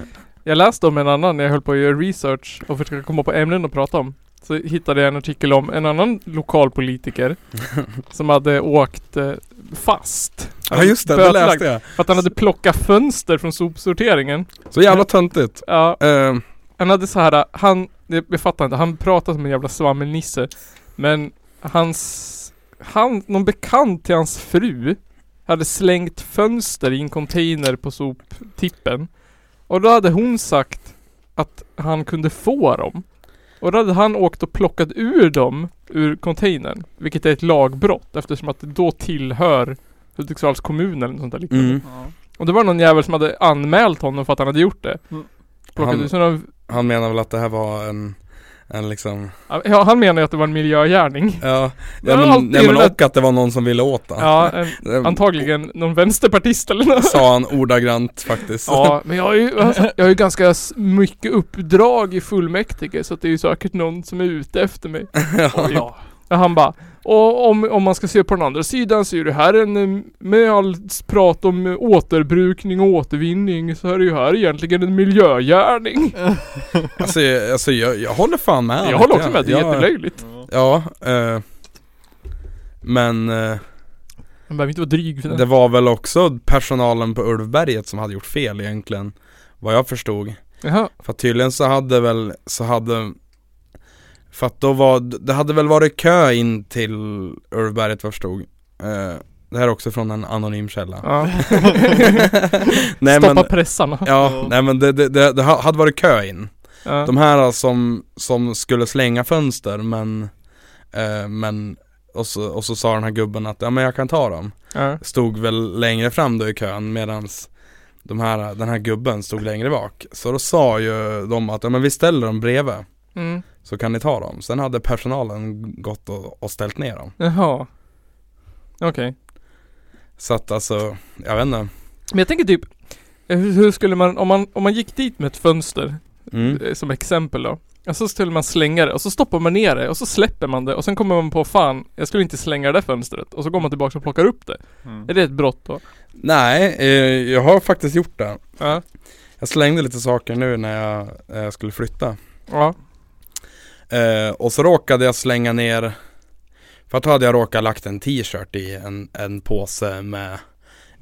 [SPEAKER 1] Jag läste om en annan när jag höll på att göra research och försöka komma på ämnen att prata om. Så hittade jag en artikel om en annan lokal politiker som hade åkt eh, fast.
[SPEAKER 2] Ja just det, det
[SPEAKER 1] Bötlagd
[SPEAKER 2] läste jag
[SPEAKER 1] För att han hade plockat fönster från sopsorteringen.
[SPEAKER 2] Så jävla töntigt
[SPEAKER 1] Ja,
[SPEAKER 2] Eh,
[SPEAKER 1] Han hade så här, han, jag, jag fattar inte, han pratade som en jävla svammelnisse. Men hans, han, någon bekant till hans fru hade slängt fönster i en container på soptippen. Och då hade hon sagt att han kunde få dem. Och då hade han åkt och plockat ur dem ur containern. Vilket är ett lagbrott eftersom att det då tillhör Hudiksvalls kommun eller något sånt där liknande.
[SPEAKER 2] Mm.
[SPEAKER 3] Ja.
[SPEAKER 1] Och det var någon jävel som hade anmält honom för att han hade gjort det.
[SPEAKER 3] Mm.
[SPEAKER 1] Plockat
[SPEAKER 2] Han-
[SPEAKER 1] ut sådana,
[SPEAKER 2] Han menar väl att det här var en, en liksom,
[SPEAKER 1] ja, han menar ju att det var en miljögärning.
[SPEAKER 2] ja,
[SPEAKER 1] Ja,
[SPEAKER 2] ja men,
[SPEAKER 1] alltid
[SPEAKER 2] nej,
[SPEAKER 1] är det
[SPEAKER 2] men och att det var någon som ville åt han.
[SPEAKER 1] Ja, en,
[SPEAKER 2] Det
[SPEAKER 1] antagligen någon vänsterpartist eller något.
[SPEAKER 2] Sa han ordagrant faktiskt.
[SPEAKER 1] Ja, men jag har ju, alltså, jag har ju ganska s- mycket uppdrag i fullmäktige så att det är ju säkert någon som är ute efter mig.
[SPEAKER 3] Oj, ja.
[SPEAKER 1] Och han bara och om, om man ska se på den andra sidan så är det här en, eh, med allt prat om eh, återbrukning och återvinning så är det ju här egentligen en miljögärning.
[SPEAKER 2] Alltså, jag, alltså jag, jag håller fan med
[SPEAKER 1] jag håller också med, det är
[SPEAKER 2] Ja,
[SPEAKER 1] jättelöjligt.
[SPEAKER 2] Ja,
[SPEAKER 3] Ja.
[SPEAKER 2] eh, men eh,
[SPEAKER 1] Man behöver inte vara dryg för det.
[SPEAKER 2] det var väl också personalen på Ulvberget som hade gjort fel egentligen. Vad jag förstod.
[SPEAKER 1] Jaha.
[SPEAKER 2] För att tydligen så hade väl, så hade För att då var, det hade väl varit kö in till Ulvberget vad jag förstod. Eh, det här är också från en anonym källa.
[SPEAKER 1] Ja.
[SPEAKER 2] nej,
[SPEAKER 1] Stoppa
[SPEAKER 2] men,
[SPEAKER 1] pressarna.
[SPEAKER 2] ja, nej men det, det, det, det hade varit kö in.
[SPEAKER 1] Ja.
[SPEAKER 2] De här som, som skulle slänga fönster men, eh, men och så, och så sa den här gubben att ja men jag kan ta dem
[SPEAKER 1] ja.
[SPEAKER 2] Stod väl längre fram då i kön medans de här, den här gubben stod längre bak Så då sa ju de att ja men vi ställer dem bredvid
[SPEAKER 1] Mm.
[SPEAKER 2] Så kan ni ta dem Sen hade personalen gått och, och ställt ner dem
[SPEAKER 1] Jaha. Okej.
[SPEAKER 2] Så att alltså, jag vet inte
[SPEAKER 1] Men jag tänker typ eh, hur, hur skulle man om, man, om man gick dit med ett fönster
[SPEAKER 2] mm.
[SPEAKER 1] eh, som exempel då. Och så skulle man slänga det och så stoppar man ner det och så släpper man det och sen kommer man på fan, jag skulle inte slänga det där fönstret. Och så går man tillbaka och plockar upp det.
[SPEAKER 3] Mm.
[SPEAKER 1] Är det ett brott då?
[SPEAKER 2] Nej, eh, jag har faktiskt gjort det
[SPEAKER 1] Ja.
[SPEAKER 2] Jag slängde lite saker nu när jag eh, skulle flytta
[SPEAKER 1] Ja.
[SPEAKER 2] Eh, och så råkade jag slänga ner För att då hade jag råkat lagt en t-shirt i en, en påse med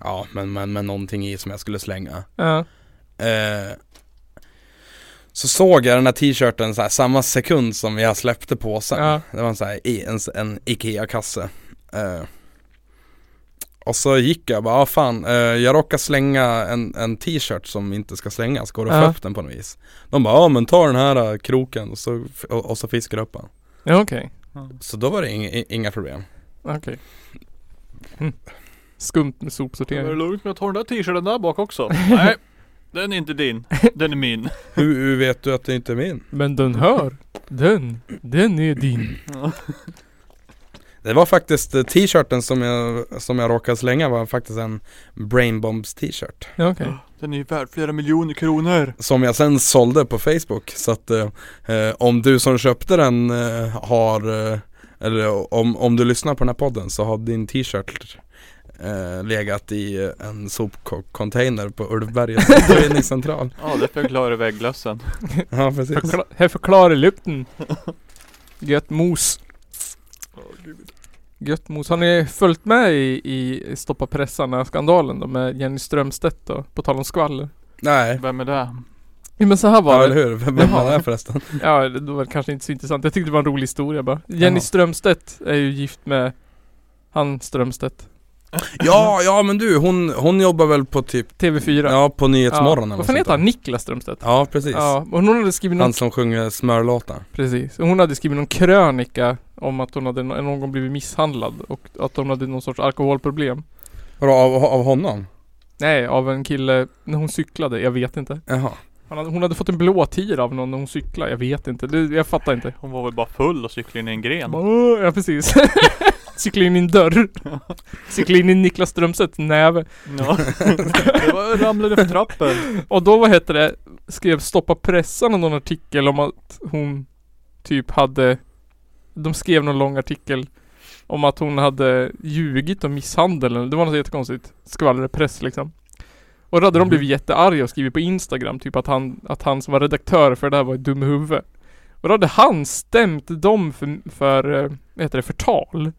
[SPEAKER 2] Ja men, men med någonting i som jag skulle slänga
[SPEAKER 1] Ja.
[SPEAKER 2] eh, Så såg jag den här t-shirten så här, samma sekund som jag släppte påsen
[SPEAKER 1] Ja.
[SPEAKER 2] Det var en, så här, i- en, en IKEA-kasse eh, Och så gick jag bara, ah, fan eh, jag råkade slänga en, en t-shirt som inte ska slängas, går det att
[SPEAKER 1] Ja.
[SPEAKER 2] få upp den på något vis? De bara, ja ah, men ta den här eh, kroken och så, och, och så fiskar du upp den
[SPEAKER 1] Ja okej.
[SPEAKER 3] Mm.
[SPEAKER 2] så då var det inga, i- inga problem.
[SPEAKER 1] Okej. Hm. Skumt med
[SPEAKER 3] Men Är det
[SPEAKER 1] sopsortering.
[SPEAKER 3] lugnt med att ta den där t-shirten där bak också? Nej. Den är inte din. Den är min.
[SPEAKER 2] Hur, hur vet du att det inte är min?
[SPEAKER 1] Men den hör. Den. Den är din.
[SPEAKER 2] Det var faktiskt eh, t-shirten som jag, som jag råkade slänga var faktiskt en Brainbombs t-shirt.
[SPEAKER 1] Ja okej.
[SPEAKER 3] Den är ju värd flera miljoner kronor.
[SPEAKER 2] Som jag sen sålde på Facebook. Så att eh, eh, om du som köpte den eh, har, eh, eller om, om du lyssnar på den här podden så har din t-shirt eh, legat i eh, en sopcontainer på Ulvbergets utredningscentral.
[SPEAKER 3] Ja, därför jag klarar vägglössen.
[SPEAKER 2] Ja precis.
[SPEAKER 1] Förkla- här förklarar lukten. Gött mos. Gött mos. Har ni följt med i, i Stoppa pressarna-skandalen då med Jenny Strömstedt då? På tal om skvaller.
[SPEAKER 2] Nej.
[SPEAKER 3] Vem är det?
[SPEAKER 1] Jo men så här var
[SPEAKER 2] Ja,
[SPEAKER 1] det.
[SPEAKER 2] eller hur? Vem vem var det här förresten?
[SPEAKER 1] Ja, det var det kanske inte så intressant. Jag tyckte det var en rolig historia bara. Jenny
[SPEAKER 2] Jaha.
[SPEAKER 1] Strömstedt är ju gift med han Strömstedt.
[SPEAKER 2] Ja, ja men du, hon, hon jobbar väl på typ
[SPEAKER 1] TV4.
[SPEAKER 2] Ja, på Nyhetsmorgon
[SPEAKER 1] Ja.
[SPEAKER 2] eller
[SPEAKER 1] Vad
[SPEAKER 2] något
[SPEAKER 1] fan
[SPEAKER 2] sånt
[SPEAKER 1] heter han?
[SPEAKER 2] där.
[SPEAKER 1] Niklas Strömstedt?
[SPEAKER 2] Ja, precis.
[SPEAKER 1] Ja, och hon hade skrivit någon,
[SPEAKER 2] Han som sjunger smörlåtar.
[SPEAKER 1] precis. Och Hon hade skrivit någon krönika om att hon hade no- någon gång blivit misshandlad och att hon hade någon sorts alkoholproblem.
[SPEAKER 2] Vadå, av, av honom?
[SPEAKER 1] Nej, av en kille när hon cyklade. Jag vet inte.
[SPEAKER 2] Jaha.
[SPEAKER 1] Han hade, hon hade fått en blå tir av någon när hon cyklade. Jag vet inte. Det, jag fattar inte.
[SPEAKER 3] Hon var väl bara full och cyklade in i en gren.
[SPEAKER 1] Åh, Ja, precis. Cykla in i en dörr. Cykla in i Niklas Strömstedts näve.
[SPEAKER 3] Ja. Det var, ramlade för trappen.
[SPEAKER 1] Och då, vad heter det, skrev Stoppa Pressarna någon artikel om att hon typ hade De skrev någon lång artikel om att hon hade ljugit om misshandeln. Det var något jättekonstigt. Skvallerpress liksom. Och då hade de
[SPEAKER 2] Mhm.
[SPEAKER 1] blivit jättearga och skrivit på Instagram typ att han, att han som var redaktör för det här var ett dum i huvudet. Och då hade han stämt dem för, för eh, vad heter det, förtal.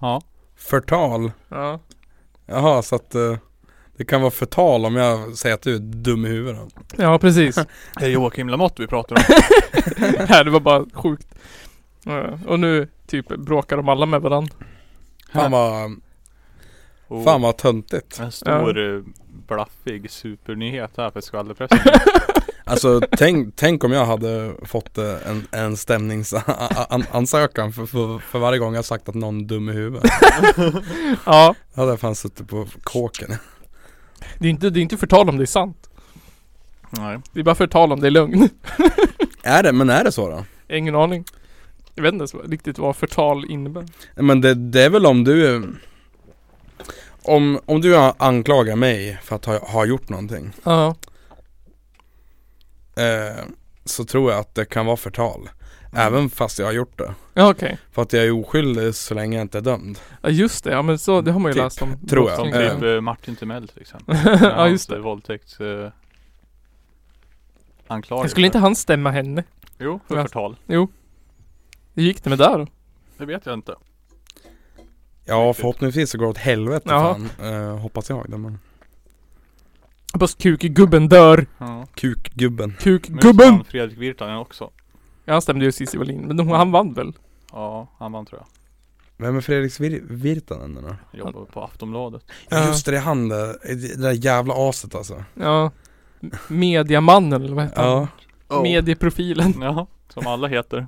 [SPEAKER 3] Ja.
[SPEAKER 2] Förtal?
[SPEAKER 1] Ja.
[SPEAKER 2] Jaha, så att eh, det kan vara förtal om jag säger att du är dum i huvudet.
[SPEAKER 1] Ja, precis.
[SPEAKER 3] Det är Joakim Lamotte vi pratar om.
[SPEAKER 1] Nej, det var bara sjukt. Ja, Och nu typ bråkar de alla med varandra.
[SPEAKER 2] Fan vad,
[SPEAKER 3] Och
[SPEAKER 2] fan vad töntigt.
[SPEAKER 3] eh, En stor ja. blaffig supernyhet här för skvallerpressen.
[SPEAKER 2] Alltså tänk, tänk om jag hade fått eh, en, en stämningsansökan för, för, för varje gång jag sagt att någon är dum i huvudet.
[SPEAKER 1] Ja,
[SPEAKER 2] Då hade jag fan suttit på kåken.
[SPEAKER 1] det är inte, det är inte förtal om det är sant.
[SPEAKER 3] Nej.
[SPEAKER 1] Det är bara förtal om det är lögn.
[SPEAKER 2] Är det, men är det så då?
[SPEAKER 1] Ingen aning. Jag vet inte ens vad- riktigt vad förtal innebär.
[SPEAKER 2] Men det, det är väl om du om, om du anklagar mig för att ha, ha gjort någonting
[SPEAKER 1] Ja.
[SPEAKER 2] eh, Så tror jag att det kan vara förtal Även fast jag har gjort det
[SPEAKER 1] Ja okej.
[SPEAKER 2] För att jag är oskyldig så länge jag inte är dömd
[SPEAKER 1] Ja just det, ja men så, det har man ju
[SPEAKER 2] Typ,
[SPEAKER 1] läst om.
[SPEAKER 2] tror jag.
[SPEAKER 3] Som
[SPEAKER 2] Eh.
[SPEAKER 3] typ eh, Martin Timell till exempel. När
[SPEAKER 1] ja just
[SPEAKER 3] hans,
[SPEAKER 1] det.
[SPEAKER 3] eh, Våldtäkts... Eh, anklagelse.
[SPEAKER 1] Men skulle inte han stämma henne?
[SPEAKER 3] Jo, för
[SPEAKER 1] Ja.
[SPEAKER 3] förtal.
[SPEAKER 1] Hur gick det med där då?
[SPEAKER 3] Det vet jag inte.
[SPEAKER 2] Ja
[SPEAKER 3] Riktigt.
[SPEAKER 2] förhoppningsvis så går det åt helvete
[SPEAKER 1] Jaha.
[SPEAKER 2] fan eh, Hoppas jag det men
[SPEAKER 1] Hoppas kukgubben dör!
[SPEAKER 3] Ja.
[SPEAKER 2] Kukgubben
[SPEAKER 3] Men just
[SPEAKER 1] Kukgubben!
[SPEAKER 3] han, Fredrik Virtanen också.
[SPEAKER 1] Ja han stämde ju Cissi Wallin, men
[SPEAKER 2] Mm.
[SPEAKER 1] hon- han vann väl?
[SPEAKER 3] Ja, han vann tror jag.
[SPEAKER 2] Vem är Fredrik Vir- Virtanen nu då?
[SPEAKER 3] Jobbar på Aftonbladet.
[SPEAKER 1] Ja.
[SPEAKER 2] Just det, det är han där, det där jävla aset alltså
[SPEAKER 1] Ja. M- Mediamannen eller vad heter han?
[SPEAKER 2] Ja
[SPEAKER 1] Medieprofilen.
[SPEAKER 3] Ja, som alla heter.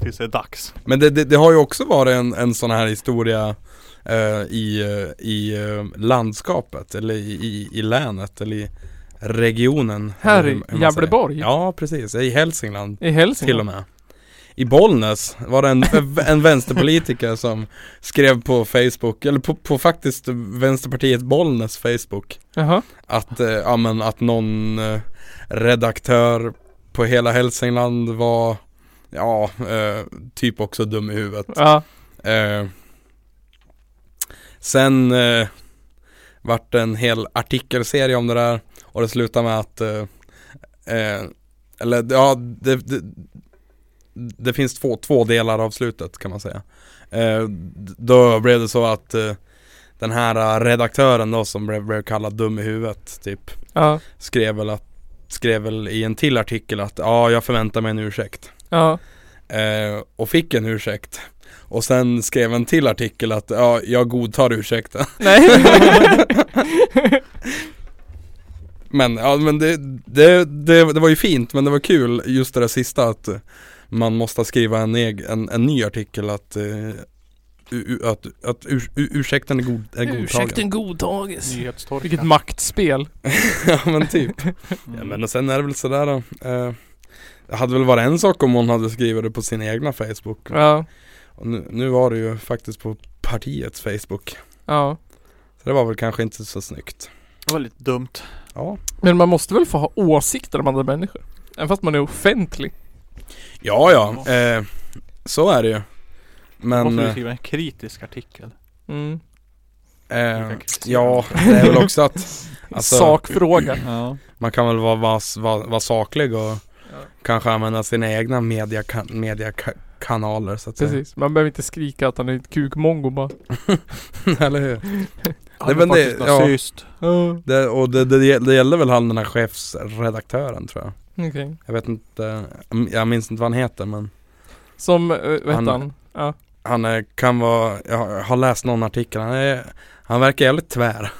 [SPEAKER 3] Tills det är dags.
[SPEAKER 2] Men det, det, det har ju också varit en, en sån här historia eh, i, eh, i eh, landskapet eller i, i, i länet eller i regionen.
[SPEAKER 1] Här
[SPEAKER 2] eller hur-
[SPEAKER 1] i
[SPEAKER 2] hur man
[SPEAKER 1] Gävleborg.
[SPEAKER 2] säger. Ja precis, i Hälsingland
[SPEAKER 1] I Hälsingland.
[SPEAKER 2] till och med. I Bollnäs var det en, en vänsterpolitiker som skrev på Facebook, eller på, på faktiskt Vänsterpartiet Bollnäs Facebook
[SPEAKER 1] Jaha.
[SPEAKER 2] att, eh, ja, men, att någon eh, redaktör på hela Hälsingland var, ja, eh, typ också dum i huvudet.
[SPEAKER 1] Ja.
[SPEAKER 2] Eh, sen eh, vart det en hel artikelserie om det där och det slutade med att eh, eh, eller ja, det, det, det finns två, två delar av slutet kan man säga. Eh, d- då blev det så att eh, den här eh, redaktören då som blev, blev kallad dum i huvudet typ
[SPEAKER 1] Ja.
[SPEAKER 2] skrev väl, att, skrev väl i en till artikel att ja, jag förväntar mig en ursäkt.
[SPEAKER 1] Ja.
[SPEAKER 2] Eh, och fick en ursäkt. Och sen skrev en till artikel att ja, jag godtar ursäkten.
[SPEAKER 1] Nej.
[SPEAKER 2] Men, ja, men det, det, det, det var ju fint, men det var kul just det där sista att eh, man måste skriva en, eg, en, en ny artikel att, eh, u, u, att, att ur, u, ursäkten är, god, är godtagen.
[SPEAKER 1] godtages.
[SPEAKER 3] Nyhetstorka. Mm.
[SPEAKER 1] Vilket maktspel.
[SPEAKER 2] ja men typ. Ja, men och sen är det väl sådär då. Eh, det hade väl varit en sak om hon hade skrivit det på sin egna Facebook.
[SPEAKER 1] Ja.
[SPEAKER 2] Och nu, nu var det ju faktiskt på partiets Facebook.
[SPEAKER 1] Ja.
[SPEAKER 2] Så det var väl kanske inte så snyggt.
[SPEAKER 3] Det var lite dumt.
[SPEAKER 2] Ja.
[SPEAKER 1] Men man måste väl få ha åsikter om andra människor? Även fast man är offentlig.
[SPEAKER 2] Ja, ja. Eh, så är det ju.
[SPEAKER 3] Men,
[SPEAKER 2] Men,
[SPEAKER 3] måste du
[SPEAKER 2] eh,
[SPEAKER 3] skriva en kritisk artikel.
[SPEAKER 1] Mm.
[SPEAKER 2] eh, ja, det är väl också att Alltså-
[SPEAKER 1] Sakfråga.
[SPEAKER 3] Ja.
[SPEAKER 2] man kan väl vara, vara, vara, vara saklig och
[SPEAKER 1] Ja.
[SPEAKER 2] kanske använda sina egna mediaka- mediakanaler så att säga.
[SPEAKER 1] Precis. Man behöver inte skrika att han är ett kukmongo bara.
[SPEAKER 2] Eller hur?
[SPEAKER 3] Han är
[SPEAKER 2] men det-
[SPEAKER 3] faktiskt
[SPEAKER 2] ja.
[SPEAKER 3] nazist.
[SPEAKER 1] Ja.
[SPEAKER 2] Det, och det, det, det gällde väl han den här chefsredaktören tror jag.
[SPEAKER 1] Okej.
[SPEAKER 2] Jag vet inte, mm, jag minns inte vad han heter men
[SPEAKER 1] Som, eh, vad
[SPEAKER 2] Han-
[SPEAKER 1] hette han? Ja.
[SPEAKER 2] han eh, kan vara, jag har- jag har läst någon artikel, han, är, han verkar jävligt tvär.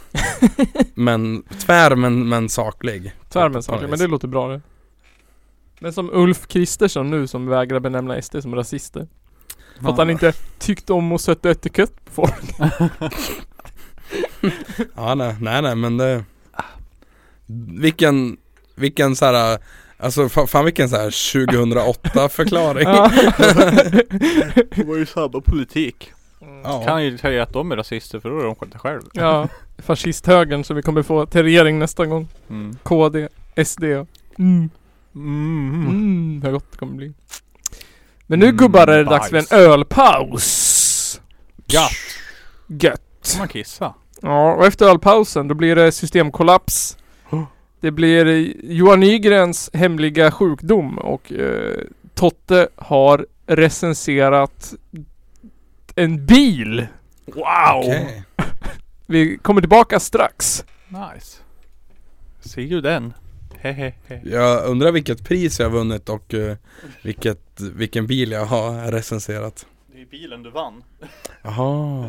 [SPEAKER 2] men, tvär men, men saklig.
[SPEAKER 1] Tvärmensaklig, men det låter bra det. Men som Ulf Kristersson nu som vägrar benämna SD som rasister. För att han inte tyckte om att sätta etikett på folk.
[SPEAKER 2] Ja nej, nej, nej men det Vilken, vilken såhär Alltså fa- fan vilken såhär 2008 förklaring
[SPEAKER 1] Ja.
[SPEAKER 3] Det var ju samma politik.
[SPEAKER 1] Mm.
[SPEAKER 2] ja.
[SPEAKER 3] Kan ju säga att de är rasister för då är de sköta själv.
[SPEAKER 1] ja. Fascisthögern som vi kommer få till regering nästa gång.
[SPEAKER 3] Mm.
[SPEAKER 1] KD, SD och mm,
[SPEAKER 3] Mm.
[SPEAKER 1] mm, vad gott det kommer bli. Men nu
[SPEAKER 3] Mm,
[SPEAKER 1] gubbar är det dags
[SPEAKER 3] bajs.
[SPEAKER 1] för en ölpaus.
[SPEAKER 3] Gött.
[SPEAKER 1] Gött.
[SPEAKER 3] Kan man kissa?
[SPEAKER 1] Ja, och efter ölpausen då blir det systemkollaps. Det blir Johan Nygrens hemliga sjukdom och eh, Totte har recenserat en bil. Wow!
[SPEAKER 2] Okej.
[SPEAKER 1] Vi kommer tillbaka strax.
[SPEAKER 3] Nice. Ser ju den. Hehehe.
[SPEAKER 2] Jag undrar vilket pris jag har vunnit och eh, vilket, vilken bil jag har recenserat
[SPEAKER 3] Det är bilen du vann.
[SPEAKER 2] Jaha,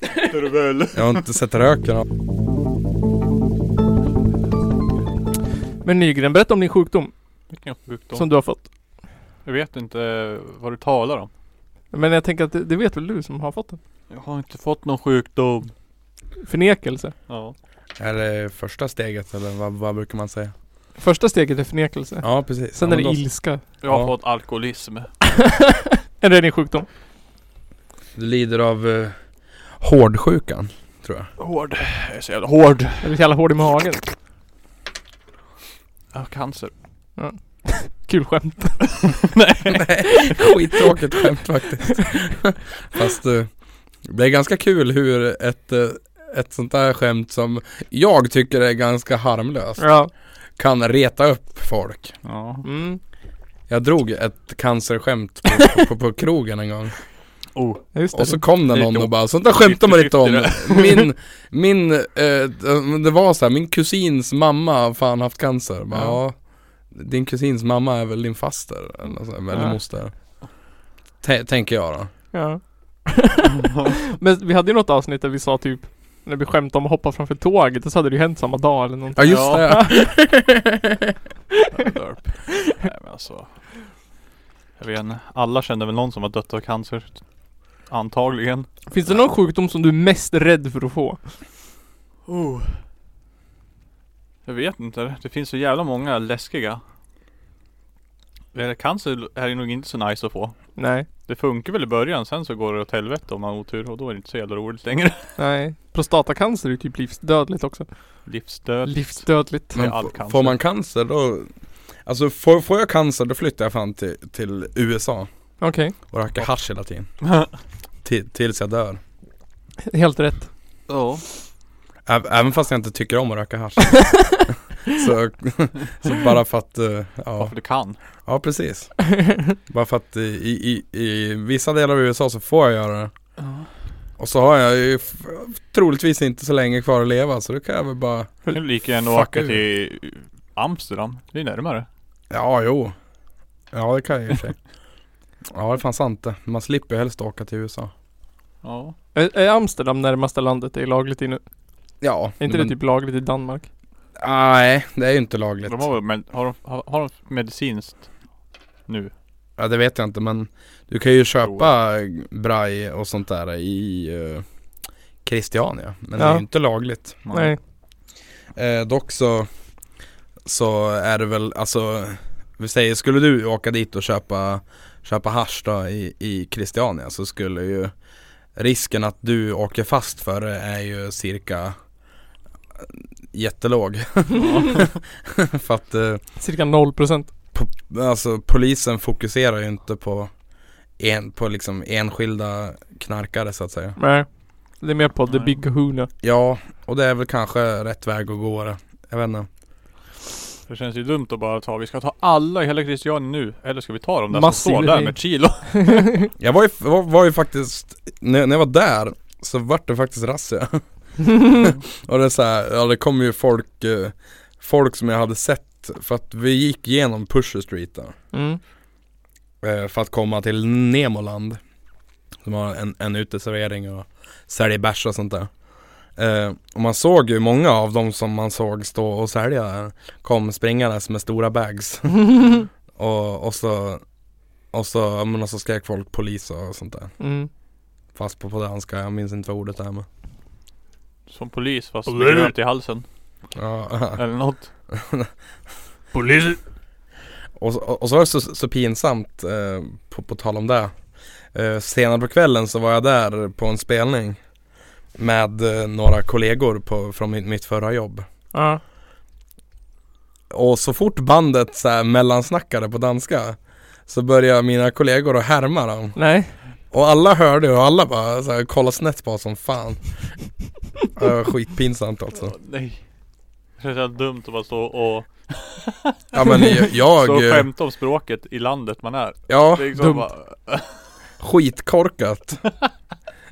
[SPEAKER 3] Det är väl.
[SPEAKER 2] jag har inte sett röken av
[SPEAKER 1] Men Nygren, berätta om din sjukdom
[SPEAKER 3] Vilken sjukdom.
[SPEAKER 1] som du har fått.
[SPEAKER 3] Jag vet inte vad du talar om.
[SPEAKER 1] Men jag tänker att det, det vet väl du som har fått den?
[SPEAKER 3] Jag har inte fått någon sjukdom.
[SPEAKER 1] Förnekelse.
[SPEAKER 3] Ja.
[SPEAKER 2] Är det första steget eller vad, vad brukar man säga?
[SPEAKER 1] Första steget är förnekelse.
[SPEAKER 2] Ja precis
[SPEAKER 1] Sen
[SPEAKER 2] ja,
[SPEAKER 1] är det
[SPEAKER 2] men då-
[SPEAKER 1] ilska.
[SPEAKER 3] Jag har
[SPEAKER 2] Ja.
[SPEAKER 3] fått alkoholism.
[SPEAKER 1] Är det din sjukdom?
[SPEAKER 2] Du lider av eh, hårdsjukan tror jag
[SPEAKER 3] Hård. Jag är så jävla hård.
[SPEAKER 1] Eller jävla hård i magen?
[SPEAKER 3] Jag har cancer.
[SPEAKER 1] Kul skämt.
[SPEAKER 2] Skittråkigt skämt faktiskt Fast eh, det är ganska kul hur ett, eh, ett sånt där skämt som jag tycker är ganska harmlöst
[SPEAKER 1] Ja.
[SPEAKER 2] kan reta upp folk
[SPEAKER 3] Ja.
[SPEAKER 1] Mm.
[SPEAKER 2] Jag drog ett cancerskämt på, på, på krogen en gång
[SPEAKER 3] Oh.
[SPEAKER 1] Ja, Just det.
[SPEAKER 2] Och så kom det
[SPEAKER 3] Det är
[SPEAKER 2] någon och
[SPEAKER 3] dope.
[SPEAKER 2] bara sånt där skämtar man inte om
[SPEAKER 3] Fifty-fifty
[SPEAKER 2] Min, min, eh, det var så här, min kusins mamma har fan haft cancer bara, ja.
[SPEAKER 1] Ja.
[SPEAKER 2] Din kusins mamma är väl din faster eller, något sånt, eller
[SPEAKER 1] Ja.
[SPEAKER 2] moster Tä- Tänker jag då
[SPEAKER 1] Ja.
[SPEAKER 2] Mm.
[SPEAKER 1] Men vi hade ju något avsnitt där vi sa typ när vi skämtade om att hoppa framför tåget, så hade det ju hänt samma dag eller någonting.
[SPEAKER 2] Ja just
[SPEAKER 3] Ja.
[SPEAKER 2] det
[SPEAKER 3] Derp. Nej men alltså. Jag vet inte. Alla känner väl någon som har dött av cancer. Antagligen.
[SPEAKER 1] Finns det någon sjukdom som du är mest rädd för att få?
[SPEAKER 3] Oh. Jag vet inte. Det finns så jävla många läskiga. Eh, Cancer är ju nog inte så nice att få.
[SPEAKER 1] Nej.
[SPEAKER 3] Det funkar väl i början. Sen så går det åt helvete om man har otur. Och då är det inte så jävla roligt längre.
[SPEAKER 1] Nej. Prostatacancer är ju typ livsdödligt också.
[SPEAKER 3] Livsdöd.
[SPEAKER 1] Livsdödligt.
[SPEAKER 3] Det är
[SPEAKER 2] Men
[SPEAKER 3] all
[SPEAKER 2] f-
[SPEAKER 3] cancer.
[SPEAKER 2] får man cancer då Alltså får, får jag cancer då flyttar jag fan till, till USA
[SPEAKER 1] Okej.
[SPEAKER 2] och röker hasch hela tiden Till- Tills jag dör
[SPEAKER 1] Helt rätt.
[SPEAKER 3] Ja.
[SPEAKER 2] Ä- Även fast jag inte tycker om att röka hasch så, så bara för att, eh, ja,
[SPEAKER 3] Varför du kan.
[SPEAKER 2] ja precis Bara för att i, i, i, i vissa delar av USA så får jag göra det Och så har jag ju f- troligtvis inte så länge kvar att leva så då kan jag väl bara
[SPEAKER 3] Det är lika gärna att
[SPEAKER 2] Fuck
[SPEAKER 3] åka
[SPEAKER 2] you.
[SPEAKER 3] till Amsterdam. Det är närmare.
[SPEAKER 2] Ja jo Ja det kan jag i och för sig Ja det är fan sant det, man slipper ju helst åka till USA
[SPEAKER 3] Ja.
[SPEAKER 1] Är är Amsterdam närmaste landet det är lagligt i nu?
[SPEAKER 2] Ja
[SPEAKER 1] Är inte
[SPEAKER 2] men-
[SPEAKER 1] det typ lagligt i Danmark?
[SPEAKER 2] Nej det är ju inte lagligt
[SPEAKER 3] De har, väl med, har, de, har, har de medicinskt nu?
[SPEAKER 2] Ja det vet jag inte men Du kan ju köpa braj och sånt där i eh, Christiania Men det är
[SPEAKER 1] Ja.
[SPEAKER 2] ju inte lagligt
[SPEAKER 1] Nej.
[SPEAKER 2] eh, Dock så Så är det väl alltså Vi säger skulle du åka dit och köpa Köpa hasch då i, i Christiania så skulle ju Risken att du åker fast för det är ju cirka eh, Jättelåg För att eh,
[SPEAKER 1] Cirka 0%.
[SPEAKER 2] po- alltså polisen fokuserar ju inte på, en, på liksom enskilda knarkare så att säga.
[SPEAKER 1] Nej. Det är mer på the
[SPEAKER 3] Nej.
[SPEAKER 1] big kahuna.
[SPEAKER 2] Ja, och det är väl kanske rätt väg att gå det. Jag vet inte.
[SPEAKER 3] Det känns ju dumt att bara ta, vi ska ta alla i hela Christiania nu. Eller ska vi ta de där
[SPEAKER 1] Massiv
[SPEAKER 3] som står där
[SPEAKER 1] grej.
[SPEAKER 3] med ett kilo?
[SPEAKER 2] Jag var ju, var, var ju faktiskt, när, när jag var där så vart det faktiskt razzia. och det är så här, ja det kom ju folk, eh, folk som jag hade sett för att vi gick igenom Pusher Street där.
[SPEAKER 1] Mm.
[SPEAKER 2] Eh, För att komma till Nemoland Som har en, en uteservering och säljer bärs och sånt där eh, Och man såg ju många av dem som man såg stå och sälja Kom springandes med stora bags och, och så Och så, ja, men och så skrek folk polis och sånt där
[SPEAKER 1] Mm.
[SPEAKER 2] Fast på, på danska, jag minns inte vad ordet är men
[SPEAKER 3] Som polis fast
[SPEAKER 1] Och
[SPEAKER 3] med
[SPEAKER 1] det-
[SPEAKER 3] gröt i halsen.
[SPEAKER 2] ja.
[SPEAKER 3] Eller något.
[SPEAKER 1] Polis.
[SPEAKER 2] Och, så- och så var det så, så pinsamt, eh, på, på tal om det. Eh, senare på kvällen så var jag där på en spelning med eh, några kollegor på, från mitt, mitt förra jobb.
[SPEAKER 1] Ja.
[SPEAKER 2] Och så fort bandet så här, mellansnackade på danska så började mina kollegor att härma dem.
[SPEAKER 1] Nej.
[SPEAKER 2] Och alla hörde och alla bara så här, kollade snett på oss som fan. Det var skitpinsamt alltså.
[SPEAKER 3] Åh, nej. Det känns jävla dumt att bara stå och
[SPEAKER 2] Ja men jag,
[SPEAKER 3] stå och
[SPEAKER 2] jag eh,
[SPEAKER 3] skämta om språket i landet man är.
[SPEAKER 2] ja.
[SPEAKER 3] Det är
[SPEAKER 1] dumt.
[SPEAKER 3] liksom bara,
[SPEAKER 2] Skitkorkat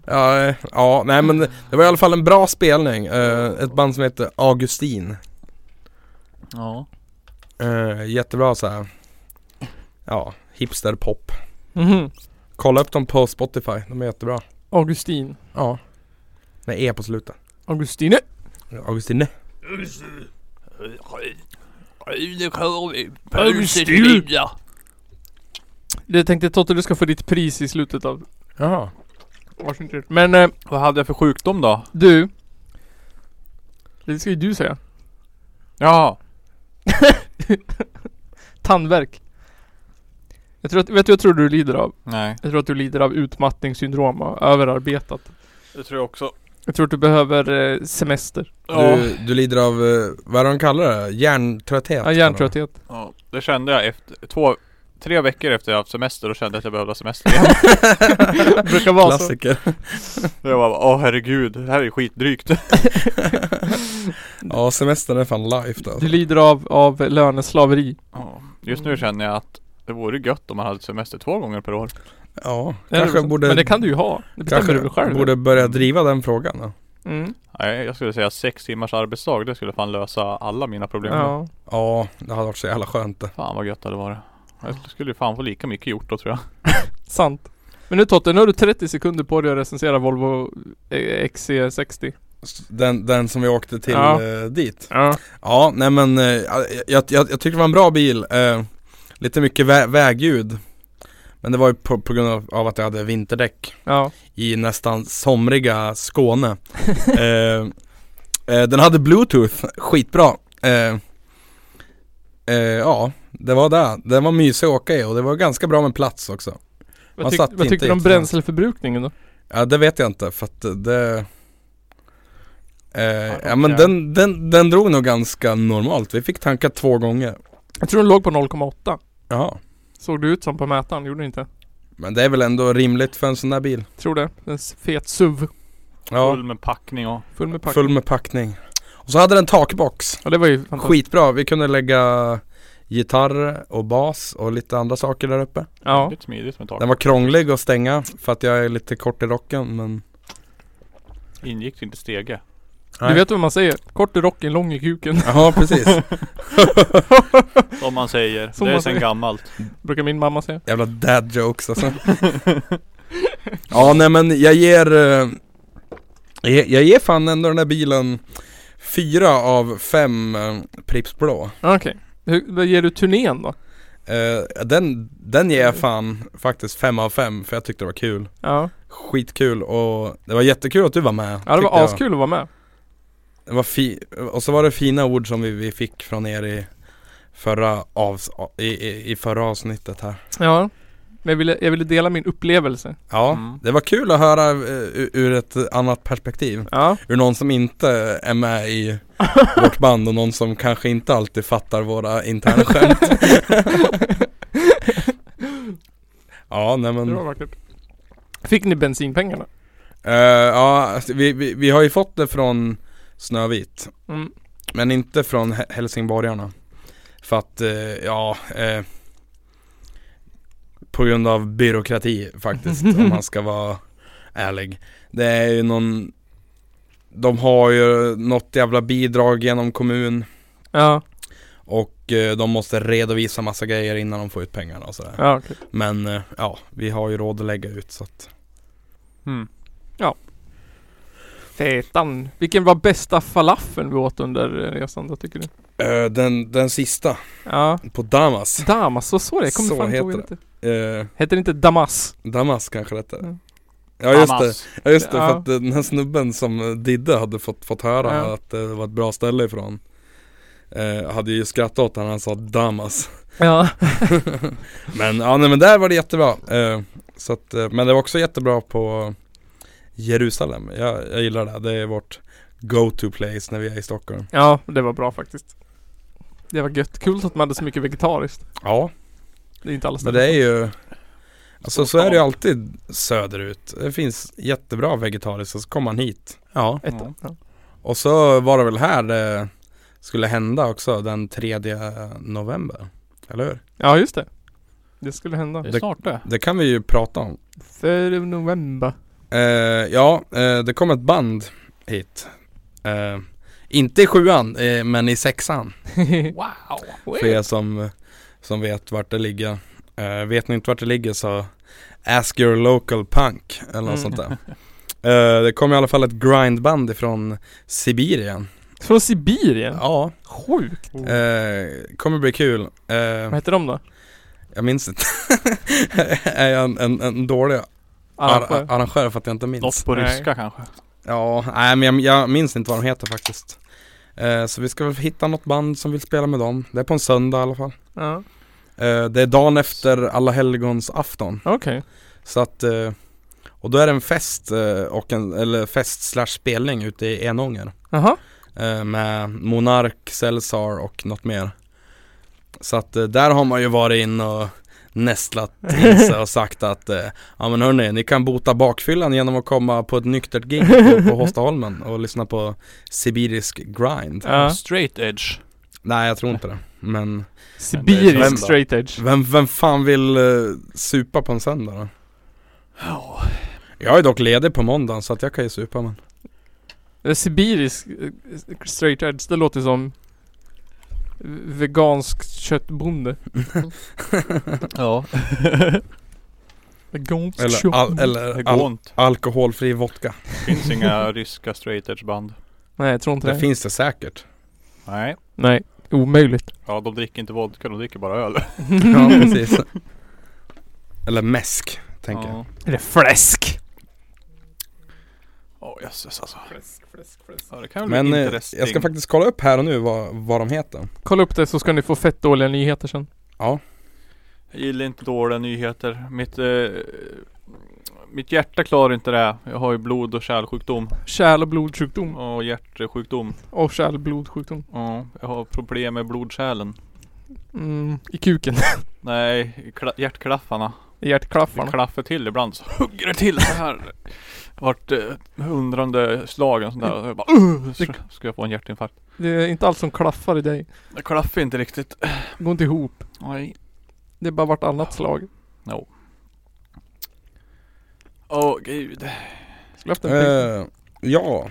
[SPEAKER 2] ja, eh, ja, nej men det var i alla fall en bra spelning Eh, Ett band som heter Augustin
[SPEAKER 3] ja.
[SPEAKER 2] Eh, Jättebra så här. Ja, hipsterpop
[SPEAKER 1] Mhm.
[SPEAKER 2] Kolla upp dem på Spotify, de är jättebra
[SPEAKER 1] Augustin.
[SPEAKER 2] Ja Med E på slutet
[SPEAKER 1] Augustine.
[SPEAKER 2] Augustine
[SPEAKER 3] Nu kör vi.
[SPEAKER 1] Pulsen still. Jag tänkte Totte du ska få ditt pris i slutet av
[SPEAKER 2] Jaha.
[SPEAKER 1] varsin tur. Men eh,
[SPEAKER 3] Vad hade jag för sjukdom då?
[SPEAKER 1] du. Det ska ju du säga.
[SPEAKER 3] Ja.
[SPEAKER 1] Tandvärk. Jag tror att, vet du vad jag tror du lider av?
[SPEAKER 3] Nej.
[SPEAKER 1] Jag tror att du lider av utmattningssyndrom och överarbetat.
[SPEAKER 3] Det tror jag också.
[SPEAKER 1] Jag tror att du behöver eh, semester.
[SPEAKER 3] Ja.
[SPEAKER 2] Du, du lider av, eh, vad är det de kallar det? Hjärntrötthet?
[SPEAKER 1] Ja, hjärntrötthet.
[SPEAKER 3] ja. Det kände jag efter två, tre veckor efter jag haft semester. Då kände jag att jag behövde ha semester igen.
[SPEAKER 1] brukar vara så.
[SPEAKER 2] Klassiker.
[SPEAKER 3] jag bara, åh herregud. Det här är skitdrygt.
[SPEAKER 2] Ja, semestern är fan life då.
[SPEAKER 1] Du lider av, av löneslaveri.
[SPEAKER 3] Ja. Just nu känner jag att det vore gött om man hade semester två gånger per år.
[SPEAKER 2] Ja,
[SPEAKER 1] Är det
[SPEAKER 2] kanske
[SPEAKER 1] så?
[SPEAKER 2] borde,
[SPEAKER 1] liksom? Men det kan du ju ha. Det bestämmer
[SPEAKER 2] kanske
[SPEAKER 1] du väl själv?
[SPEAKER 2] borde börja driva den frågan då.
[SPEAKER 1] Mm.
[SPEAKER 3] Nej, jag skulle säga sex timmars arbetsdag. Det skulle fan lösa alla mina problem.
[SPEAKER 1] Ja.
[SPEAKER 2] Ja, det hade varit så jävla skönt det.
[SPEAKER 3] Fan vad gött det hade varit. Jag skulle ju fan få lika mycket gjort då tror jag.
[SPEAKER 1] Sant. Men nu Totte, nu har du 30 sekunder på dig att recensera Volvo eh, XC60.
[SPEAKER 2] Den, den som vi åkte till
[SPEAKER 1] Ja.
[SPEAKER 2] eh, dit.
[SPEAKER 1] Ja.
[SPEAKER 2] Ja, nej men eh, jag, jag, jag, jag tyckte det var en bra bil. Eh, lite mycket vä vägljud. Men det var ju på, på grund av- av att jag hade vinterdäck
[SPEAKER 1] Ja.
[SPEAKER 2] i nästan somriga Skåne. eh, eh, den hade bluetooth, skitbra. Eh, eh, ja, det var det. Den var mysig att åka i och det var ganska bra med plats också.
[SPEAKER 1] Vad,
[SPEAKER 2] Man
[SPEAKER 1] tyck,
[SPEAKER 2] satt
[SPEAKER 1] vad
[SPEAKER 2] inte
[SPEAKER 1] tyckte du om
[SPEAKER 2] jättebra.
[SPEAKER 1] bränsleförbrukningen då?
[SPEAKER 2] Ja det vet jag inte för att det eh, ja,
[SPEAKER 3] okej.
[SPEAKER 2] men den, den, den drog nog ganska normalt. Vi fick tanka två gånger.
[SPEAKER 1] Jag tror den låg på 0,8.
[SPEAKER 2] Ja.
[SPEAKER 1] Såg det ut som på mätaren? Gjorde det inte?
[SPEAKER 2] Men det är väl ändå rimligt för en sån där bil.
[SPEAKER 1] Tror det. En s- fet SUV.
[SPEAKER 2] Ja,
[SPEAKER 3] Full med packning och...
[SPEAKER 1] Full med packning.
[SPEAKER 2] full med packning. Och så hade den takbox.
[SPEAKER 1] Ja det var ju fantastiskt.
[SPEAKER 2] Skitbra, vi kunde lägga gitarr och bas och lite andra saker där uppe.
[SPEAKER 1] Ja.
[SPEAKER 3] Lite smidigt med tak.
[SPEAKER 2] Den var krånglig att stänga för att jag är lite kort i rocken men
[SPEAKER 3] Ingick det inte stege?
[SPEAKER 1] Du vet vad man säger? Kort i rocken, lång i kuken.
[SPEAKER 2] Ja precis.
[SPEAKER 3] Som man säger.
[SPEAKER 1] Som
[SPEAKER 3] det är
[SPEAKER 1] man
[SPEAKER 3] sen
[SPEAKER 1] säger.
[SPEAKER 3] gammalt.
[SPEAKER 1] Brukar min mamma säga.
[SPEAKER 2] Jävla dad jokes alltså. ja nej men jag ger eh, jag, jag ger fan ändå den här bilen fyra av fem eh, Pripps blå.
[SPEAKER 1] Ja, Okej. Hur, vad ger du turnén då?
[SPEAKER 2] Eh, den, den ger jag fan faktiskt fem av fem för jag tyckte det var kul.
[SPEAKER 1] Ja.
[SPEAKER 2] Skitkul och det var jättekul att du var med.
[SPEAKER 1] Ja det
[SPEAKER 2] tyckte
[SPEAKER 1] var
[SPEAKER 2] jag.
[SPEAKER 1] askul att vara med.
[SPEAKER 2] Det var fi- och så var det fina ord som vi, vi fick från er i förra, avs- i, i, i förra avsnittet här.
[SPEAKER 1] Ja. Men jag ville, jag ville dela min upplevelse.
[SPEAKER 2] Ja,
[SPEAKER 3] Mm.
[SPEAKER 2] det var kul att höra eh, ur- ur ett annat perspektiv.
[SPEAKER 1] Ja.
[SPEAKER 2] Ur någon som inte är med i vårt band och någon som kanske inte alltid fattar våra interna skämt. ja, nej men.
[SPEAKER 1] Det var vackert. Fick ni bensinpengarna?
[SPEAKER 2] eh, ja, alltså, vi, vi, vi har ju fått det från Snövit.
[SPEAKER 1] Mm.
[SPEAKER 2] Men inte från he- helsingborgarna. För att, eh, ja, eh, på grund av byråkrati faktiskt, om man ska vara ärlig. Det är ju någon, de har ju något jävla bidrag genom kommun
[SPEAKER 1] Ja.
[SPEAKER 2] och eh, de måste redovisa massa grejer innan de får ut pengarna och sådär.
[SPEAKER 1] Ja okej.
[SPEAKER 2] Men eh, ja, vi har ju råd att lägga ut så att
[SPEAKER 3] Mm.
[SPEAKER 1] Fetan. Vilken var bästa falafeln vi åt under eh, resan då tycker du?
[SPEAKER 2] Eh, den, den sista
[SPEAKER 1] Ja.
[SPEAKER 2] på Damas,
[SPEAKER 1] Damas, så så det? Jag kommer
[SPEAKER 2] Så
[SPEAKER 1] fan inte ihåg
[SPEAKER 2] heter
[SPEAKER 1] det.
[SPEAKER 2] eh,
[SPEAKER 1] Heter det inte Damas?
[SPEAKER 2] Damas kanske det är.
[SPEAKER 1] Mm.
[SPEAKER 2] Ja just det.
[SPEAKER 3] Hamas.
[SPEAKER 2] Ja just det,
[SPEAKER 1] Ja.
[SPEAKER 2] för att eh, den här snubben som eh, Didde hade fått, fått höra
[SPEAKER 1] Ja.
[SPEAKER 2] att det var ett bra ställe ifrån eh, Hade ju skrattat åt honom, han sa Damas
[SPEAKER 1] Ja.
[SPEAKER 2] Men ja nej, men där var det jättebra eh, så att, eh, Men det var också jättebra på Jerusalem, jag, jag gillar det, det är vårt go-to place när vi är i Stockholm
[SPEAKER 1] Ja, det var bra faktiskt. Det var gött. Kul att man hade så mycket vegetariskt.
[SPEAKER 2] Ja,
[SPEAKER 1] Det är inte alla
[SPEAKER 2] men
[SPEAKER 1] ställen.
[SPEAKER 2] det är ju Alltså så är det ju alltid söderut, det finns jättebra vegetariskt och så kommer man hit Ja
[SPEAKER 1] Ett, ja.
[SPEAKER 2] Och så var det väl här det skulle hända också den 3 november, eller hur?
[SPEAKER 1] ja, just det. Det skulle hända.
[SPEAKER 3] Det är snart det.
[SPEAKER 2] Det kan vi ju prata om.
[SPEAKER 1] För november.
[SPEAKER 2] Eh, ja, eh, det kom ett band hit. Eh, inte i sjuan, eh, men i sexan.
[SPEAKER 3] Wow.
[SPEAKER 2] För er som, som vet vart det ligger. Eh, vet ni inte vart det ligger så ask your local punk eller något
[SPEAKER 1] Mm.
[SPEAKER 2] sånt där. Eh, det kom i alla fall ett grindband ifrån Sibirien.
[SPEAKER 1] Från Sibirien?
[SPEAKER 2] Ja,
[SPEAKER 1] Sjukt.
[SPEAKER 2] eh, kommer bli kul. Eh,
[SPEAKER 1] Vad heter de då?
[SPEAKER 2] jag minns inte. är jag en, en, en dålig ar-
[SPEAKER 1] Arrangör?
[SPEAKER 2] arrangör för att jag inte minns?
[SPEAKER 3] Något på
[SPEAKER 1] Nej.
[SPEAKER 3] ryska kanske?
[SPEAKER 2] Ja, nej men jag, jag minns inte vad de heter faktiskt. Eh, så vi ska väl hitta något band som vill spela med dem. Det är på en söndag i alla fall.
[SPEAKER 1] Ja,
[SPEAKER 2] Eh, det är dagen efter alla helgons afton.
[SPEAKER 1] okej.
[SPEAKER 2] Så att, eh, och då är det en fest, eh, och en, eller fest slash spelning ute i Enånger.
[SPEAKER 1] Jaha.
[SPEAKER 2] Eh, med Monark, Celsar och något mer. Så att eh, där har man ju varit in och nästlat in sig och sagt att eh, Ja men hörni, ni kan bota bakfyllan genom att komma på ett nyktert gig på, på Hostaholmen och lyssna på Sibirisk Grind
[SPEAKER 1] Ja.
[SPEAKER 3] Straight edge.
[SPEAKER 2] Nej jag tror inte det, men Vem då?
[SPEAKER 1] Sibirisk straight edge.
[SPEAKER 2] vem, vem fan vill eh, supa på en söndag då?
[SPEAKER 3] Ja.
[SPEAKER 2] Jag är dock ledig på måndagen så att jag kan ju supa men
[SPEAKER 1] Eh, Sibirisk eh, straight edge, det låter som vegansk köttbonde.
[SPEAKER 3] Ja.
[SPEAKER 1] Vegansk
[SPEAKER 2] Eller, al,
[SPEAKER 1] köttbonde.
[SPEAKER 3] Det
[SPEAKER 2] eller
[SPEAKER 3] går
[SPEAKER 2] al,
[SPEAKER 3] inte.
[SPEAKER 2] alkoholfri vodka
[SPEAKER 3] Det finns inga ryska straight edge band.
[SPEAKER 1] Nej, jag tror inte det.
[SPEAKER 2] Det finns det säkert
[SPEAKER 3] Nej.
[SPEAKER 1] Nej, omöjligt.
[SPEAKER 3] Ja, de dricker inte vodka, de dricker bara öl.
[SPEAKER 2] Ja precis Eller mäsk, tänker jag
[SPEAKER 3] Ja.
[SPEAKER 1] Eller fläsk.
[SPEAKER 3] Åh jösses alltså.
[SPEAKER 1] Fläsk, fläsk, fläsk.
[SPEAKER 3] Ja, det kan väl
[SPEAKER 2] Men
[SPEAKER 3] bli
[SPEAKER 2] eh,
[SPEAKER 3] interesting.
[SPEAKER 2] jag ska faktiskt kolla upp här och nu vad, vad de heter
[SPEAKER 1] Kolla upp det så ska ni få fett dåliga nyheter sen.
[SPEAKER 3] Jag gillar inte dåliga nyheter. Mitt, eh, mitt hjärta klarar inte det. här. Jag har ju blod och kärlsjukdom.
[SPEAKER 1] Kärl och blodsjukdom.
[SPEAKER 3] Och hjärtsjukdom.
[SPEAKER 1] Och kärl och blodsjukdom.
[SPEAKER 3] Ja, jag har problem med blodkärlen.
[SPEAKER 1] Mm, I kuken.
[SPEAKER 3] Nej, i kla- hjärtklaffarna.
[SPEAKER 1] I
[SPEAKER 3] Det
[SPEAKER 1] hjärtklaffarna.
[SPEAKER 3] klaffar till ibland så hugger det till så här. Vart eh, hundrande slag och sånt där. Och jag bara, uh, så ska jag få en hjärtinfarkt.
[SPEAKER 1] Det är inte allt som klaffar i dig.
[SPEAKER 3] Det klaffar inte riktigt.
[SPEAKER 1] Det går inte ihop.
[SPEAKER 3] Nej.
[SPEAKER 1] Det är bara vartannat slag.
[SPEAKER 3] No. Åh gud.
[SPEAKER 1] Skulle haft en pekning.
[SPEAKER 2] Eh, ja.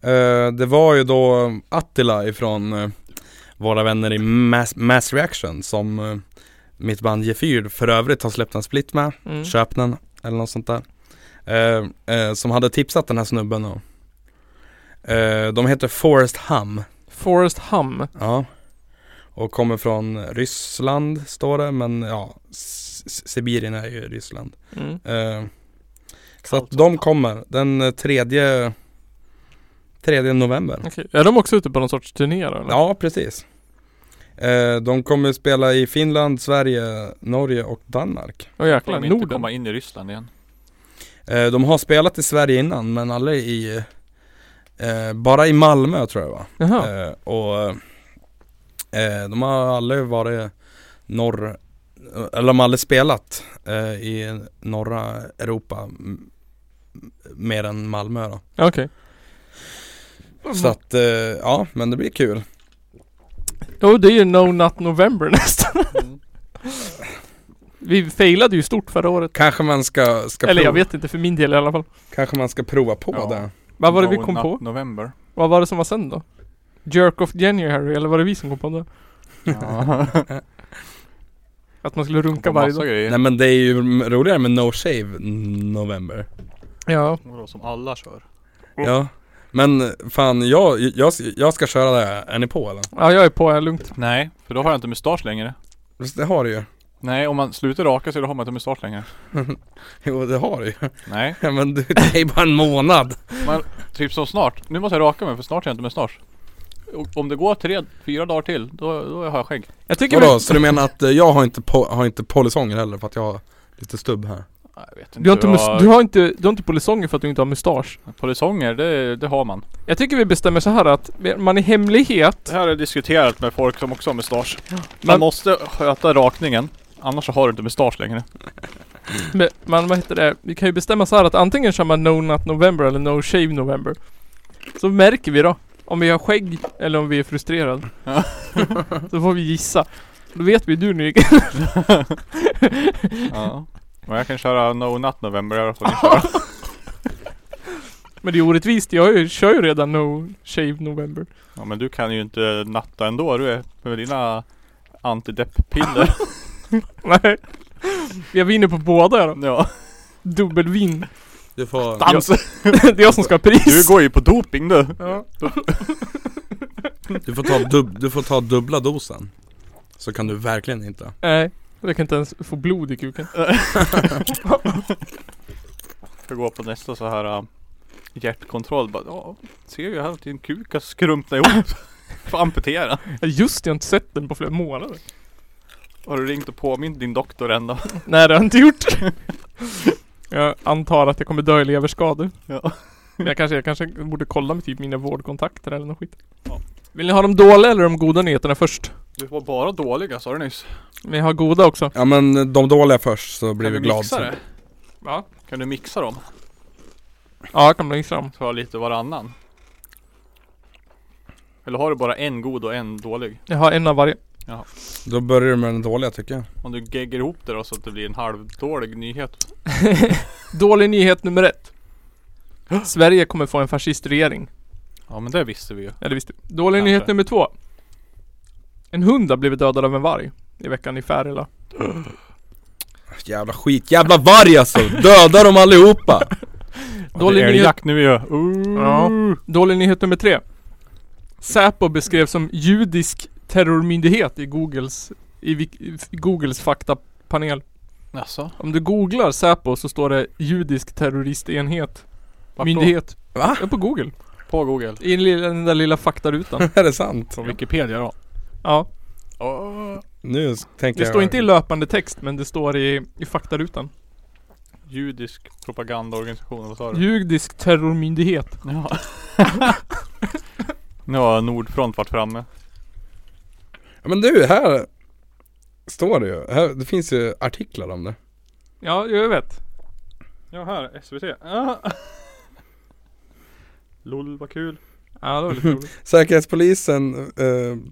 [SPEAKER 2] Eh, det var ju då Attila ifrån eh, våra vänner i Mass, Mass Reaction som eh, mitt band Gefyr för övrigt har släppt en split med,
[SPEAKER 1] Mm.
[SPEAKER 2] köp den eller något sånt där. Eh, eh, som hade tipsat den här snubben om. Eh, de heter Forest Hum.
[SPEAKER 1] Forest Hum.
[SPEAKER 2] Ja. Och kommer från Ryssland står det, men ja, S- S- Sibirien är ju Ryssland.
[SPEAKER 1] Mm.
[SPEAKER 2] Eh, så att de kommer den eh, tredje, tredje november.
[SPEAKER 1] Okej. Är de också ute på någon sorts turné då eller?
[SPEAKER 2] Ja, precis. Eh, de kommer spela i Finland, Sverige, Norge och Danmark.
[SPEAKER 1] Åh
[SPEAKER 3] Får
[SPEAKER 1] jäklar.
[SPEAKER 3] de inte
[SPEAKER 1] Norden.
[SPEAKER 3] komma in i Ryssland igen?
[SPEAKER 2] Eh, de har spelat i Sverige innan, men aldrig i, eh, bara i Malmö tror jag va?
[SPEAKER 1] Jaha.
[SPEAKER 2] Eh, och eh, de har aldrig varit norr, eh, eller de har aldrig spelat eh, i norra Europa m- mer än Malmö då.
[SPEAKER 1] Ja, Okej.
[SPEAKER 2] Så att, eh, ja men det blir kul.
[SPEAKER 1] Jo det är ju No Nut November nästan.
[SPEAKER 3] Mm.
[SPEAKER 1] Vi failade ju stort förra året.
[SPEAKER 2] Kanske man ska, ska,
[SPEAKER 1] Eller jag
[SPEAKER 2] prova,
[SPEAKER 1] vet inte för min del i alla fall.
[SPEAKER 2] kanske man ska prova på
[SPEAKER 3] Ja.
[SPEAKER 2] det.
[SPEAKER 1] Vad var det vi
[SPEAKER 3] No
[SPEAKER 1] kom
[SPEAKER 3] Nut
[SPEAKER 1] på?
[SPEAKER 3] November.
[SPEAKER 1] Vad var det som var sen då? Jerk of January eller var det vi som kom på det?
[SPEAKER 3] Ja.
[SPEAKER 1] Att man skulle runka varje
[SPEAKER 3] Massa
[SPEAKER 1] dag?
[SPEAKER 3] grejer.
[SPEAKER 2] Nej men det är ju m- roligare med No Shave November.
[SPEAKER 1] Ja.
[SPEAKER 3] Vadå, som alla kör?
[SPEAKER 2] Ja. Men fan jag, jag, jag ska köra det här. Är ni på eller?
[SPEAKER 1] Ja jag är på, jag är lugnt.
[SPEAKER 3] Nej, för då har jag inte mustasch längre.
[SPEAKER 2] Visst, Det har du ju.
[SPEAKER 3] Nej, om man slutar raka sig då har man inte mustasch längre.
[SPEAKER 2] Jo det har du ju.
[SPEAKER 3] Nej,
[SPEAKER 2] Ja, Men du, det är ju bara en månad.
[SPEAKER 3] typ som snart. Nu måste jag raka mig för snart har jag inte mustasch. Och Om det går tre, fyra dagar till, då, då har jag skägg.
[SPEAKER 1] Jag tycker
[SPEAKER 2] Vadå,
[SPEAKER 1] vi...
[SPEAKER 2] så du menar att eh, jag har inte, po- har inte polisonger heller för att jag har lite stubb här?
[SPEAKER 3] Nej, Jag vet inte.
[SPEAKER 1] Du har, inte
[SPEAKER 3] vad-
[SPEAKER 1] mus- du, har inte, du har inte polisonger för att du inte har mustasch.
[SPEAKER 3] Polisonger, det, det har man.
[SPEAKER 1] Jag tycker vi bestämmer så här att man i hemlighet...
[SPEAKER 3] Det här har jag diskuterat med folk som också har mustasch. Man
[SPEAKER 1] Men-
[SPEAKER 3] måste sköta rakningen. Annars så har du inte mustasch längre.
[SPEAKER 1] Men, man, vad heter det? Vi kan ju bestämma så här att antingen kör man No Nut November eller No Shave November. Så märker vi då. Om vi har skägg eller om vi är frustrerade.
[SPEAKER 3] Ja.
[SPEAKER 1] så får vi gissa. Då vet vi du nu.
[SPEAKER 3] Ja. Och jag kan köra No Nut November i alla fall.
[SPEAKER 1] Men det är orättvist. Jag är- kör ju redan No Shave November.
[SPEAKER 3] Ja men du kan ju inte natta ändå du är med dina antidepp-piller.
[SPEAKER 1] Nej. Jag vinner på båda då.
[SPEAKER 3] ja.
[SPEAKER 1] Dubbelvinn.
[SPEAKER 2] Du får...
[SPEAKER 3] Dans!
[SPEAKER 1] det är jag som ska ha pris.
[SPEAKER 3] Du går ju på doping du!
[SPEAKER 1] Ja.
[SPEAKER 2] Du får ta, dub, du får ta dubbla dosen. Så kan du verkligen inte.
[SPEAKER 1] Nej, jag kan inte ens få blod i kuken.
[SPEAKER 3] Ska gå på nästa så här äh, hjärtkontroll. Bara, ja, ser ju här att din kuk har skrumpnat ihop. Får amputera.
[SPEAKER 1] Ja, Just det, jag har inte sett den på flera månader.
[SPEAKER 3] Har du ringt och påmint din doktor än då?
[SPEAKER 1] Nej, det har jag inte gjort. Jag antar att jag kommer dö i leverskador.
[SPEAKER 3] Ja.
[SPEAKER 1] Men jag kanske, jag kanske borde kolla med typ mina vårdkontakter eller något skit. Vill ni ha de dåliga eller de goda nyheterna först?
[SPEAKER 3] Du var bara dåliga sa du nyss.
[SPEAKER 1] Vi har goda också.
[SPEAKER 2] Ja men de dåliga först så blir
[SPEAKER 3] Kan
[SPEAKER 2] vi
[SPEAKER 3] du
[SPEAKER 2] glada.
[SPEAKER 3] mixa det?
[SPEAKER 1] Ja.
[SPEAKER 3] Kan du mixa dem?
[SPEAKER 1] Ja, jag kan bli fram.
[SPEAKER 3] Ta lite varannan. Eller har du bara en god och en dålig?
[SPEAKER 1] Jag har en av varje.
[SPEAKER 2] Då börjar du med den dåliga tycker jag.
[SPEAKER 3] Om du geggar ihop det då så att det blir en halvdålig nyhet.
[SPEAKER 1] Dålig nyhet nummer ett. Sverige kommer få en fascistregering.
[SPEAKER 3] Ja men det visste vi ju.
[SPEAKER 1] Ja, det visste vi. Dålig
[SPEAKER 3] Kanske.
[SPEAKER 1] nyhet nummer två. En hund har blivit dödad av en varg. I veckan i Färila.
[SPEAKER 2] Jävla skit, jävla varg alltså! Döda dem allihopa!
[SPEAKER 1] Dålig
[SPEAKER 3] det är
[SPEAKER 1] nyhet-
[SPEAKER 3] jakt nu ju. Uh.
[SPEAKER 1] Ja. Mm. Dålig nyhet nummer tre. Säpo beskrevs som judisk terrormyndighet i Googles, i, Wik- i Googles faktapanel.
[SPEAKER 3] Jaså?
[SPEAKER 1] Om du googlar Säpo så står det judisk terroristenhet.
[SPEAKER 3] Vart
[SPEAKER 1] Myndighet.
[SPEAKER 2] Va?
[SPEAKER 1] Ja, på Google.
[SPEAKER 3] då? På Google.
[SPEAKER 1] I den lilla, den där lilla faktarutan.
[SPEAKER 2] Är det sant?
[SPEAKER 3] Från Wikipedia då?
[SPEAKER 1] Ja.
[SPEAKER 3] Oh.
[SPEAKER 2] Nu s- tänker
[SPEAKER 1] Det
[SPEAKER 2] jag...
[SPEAKER 1] står inte i löpande text men det står i, i faktarutan.
[SPEAKER 3] Judisk propagandaorganisation, vad sa du?
[SPEAKER 1] Judisk terrormyndighet.
[SPEAKER 3] ja. nu har Nordfront varit framme.
[SPEAKER 2] Ja, men du, här står det ju. Här, det finns ju artiklar om det.
[SPEAKER 1] Ja, jag vet.
[SPEAKER 3] Ja här, SVT. Ah. Lol vad kul.
[SPEAKER 1] Ja, det var lite roligt.
[SPEAKER 2] Säkerhetspolisen eh,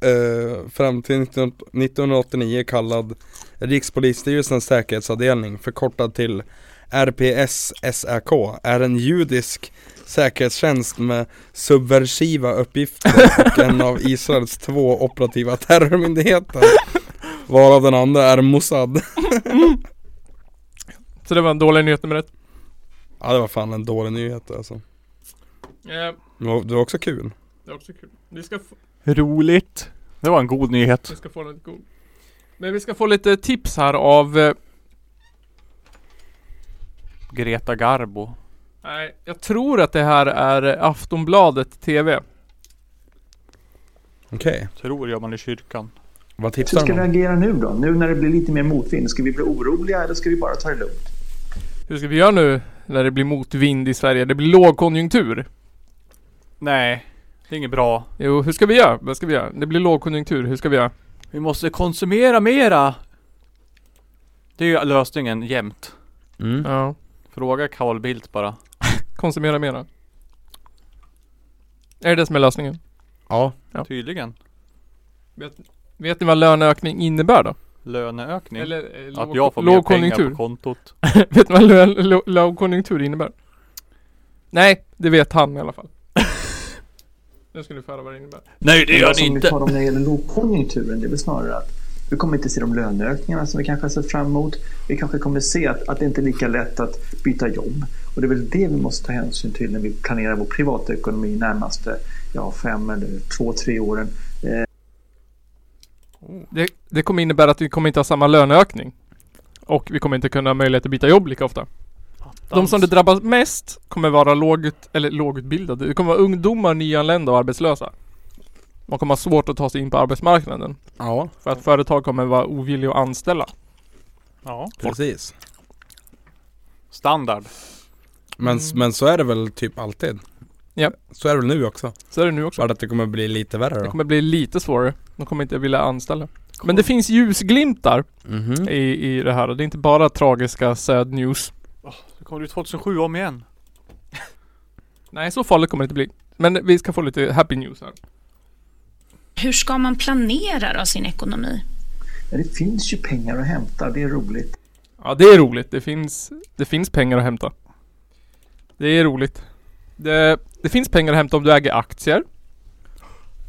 [SPEAKER 2] eh, fram till 19, 1989 kallad Rikspolisstyrelsens säkerhetsavdelning förkortad till RPS-SÄK är en judisk säkerhetstjänst med subversiva uppgifter och en av Israels två operativa terrormyndigheter varav den andra är Mossad.
[SPEAKER 1] Så det var en dålig nyhet nummer ett.
[SPEAKER 2] Ja det var fan en dålig nyhet alltså. Det var, det var också kul.
[SPEAKER 1] det är också kul. Vi ska, få,
[SPEAKER 3] Roligt. Det var en god nyhet.
[SPEAKER 1] vi ska få lite god. Men vi ska få lite tips här av... eh,
[SPEAKER 3] Greta Garbo.
[SPEAKER 1] Nej, jag tror att det här är eh, Aftonbladet TV.
[SPEAKER 2] Okej,
[SPEAKER 3] Tror gör man i kyrkan.
[SPEAKER 2] vad
[SPEAKER 4] Hur
[SPEAKER 2] tipsar
[SPEAKER 4] ska
[SPEAKER 2] du
[SPEAKER 4] vi
[SPEAKER 2] om?
[SPEAKER 4] agera nu då? Nu när det blir lite mer motvind, ska vi bli oroliga eller ska vi bara ta det lugnt?
[SPEAKER 1] Hur ska vi göra nu när det blir motvind i Sverige? Det blir lågkonjunktur.
[SPEAKER 3] Nej. Det är inget bra.
[SPEAKER 1] Jo, hur ska vi göra? Vad ska vi göra? Det blir lågkonjunktur. Hur ska vi göra?
[SPEAKER 3] Vi måste konsumera mera. Det är ju lösningen jämt.
[SPEAKER 2] Mm.
[SPEAKER 1] Ja.
[SPEAKER 3] Fråga Carl Bildt bara.
[SPEAKER 1] Konsumera mera. Är det det som är lösningen?
[SPEAKER 2] Ja,
[SPEAKER 3] Tydligen.
[SPEAKER 1] Vet ni vad löneökning innebär då?
[SPEAKER 3] Löneökning.
[SPEAKER 1] Eller eh,
[SPEAKER 3] att
[SPEAKER 1] låg-
[SPEAKER 3] jag får mer pengar
[SPEAKER 1] lågkonjunktur?
[SPEAKER 3] på kontot.
[SPEAKER 1] Vet ni vad lö- lo- lågkonjunktur innebär? Nej, det vet han i alla fall. nu ska du föra vad det innebär.
[SPEAKER 3] Nej det
[SPEAKER 4] som vi tar om när det gäller lågkonjunkturen, det är väl snarare att vi kommer inte se de löneökningarna som vi kanske har sett fram emot. Vi kanske kommer se att, att det inte är lika lätt att byta jobb. Och det är väl det vi måste ta hänsyn till när vi planerar vår privatekonomi närmaste ja, fem eller två, tre åren.
[SPEAKER 1] Det, det kommer innebära att vi kommer inte ha samma löneökning. Och vi kommer inte kunna ha möjlighet att byta jobb lika ofta. De som det drabbas mest kommer vara lågut, eller lågutbildade. Det kommer vara ungdomar, nyanlända och arbetslösa. Man kommer ha svårt att ta sig in på arbetsmarknaden.
[SPEAKER 2] ja
[SPEAKER 1] För att företag kommer vara ovilliga att anställa.
[SPEAKER 3] Ja.
[SPEAKER 2] precis.
[SPEAKER 3] Standard.
[SPEAKER 2] Men,
[SPEAKER 1] Mm.
[SPEAKER 2] men så är det väl typ alltid?
[SPEAKER 1] Ja.
[SPEAKER 2] Så är det väl nu också?
[SPEAKER 1] Så är det nu också.
[SPEAKER 2] Bara att det kommer bli lite värre
[SPEAKER 1] Det
[SPEAKER 2] då?
[SPEAKER 1] kommer bli lite svårare. De kommer inte vilja anställa. Men det finns ljusglimtar
[SPEAKER 2] Mhm.
[SPEAKER 1] i, i det här. Det är inte bara tragiska sad news.
[SPEAKER 3] Det kommer bli 2007 om igen.
[SPEAKER 1] Nej, så farligt kommer det inte bli. Men vi ska få lite happy news här.
[SPEAKER 5] Hur ska man planera då sin ekonomi?
[SPEAKER 4] Men det finns ju pengar att hämta, det är roligt.
[SPEAKER 1] Ja, det är roligt. Det finns, det finns pengar att hämta. Det är roligt. Det, det finns pengar att hämta om du äger aktier.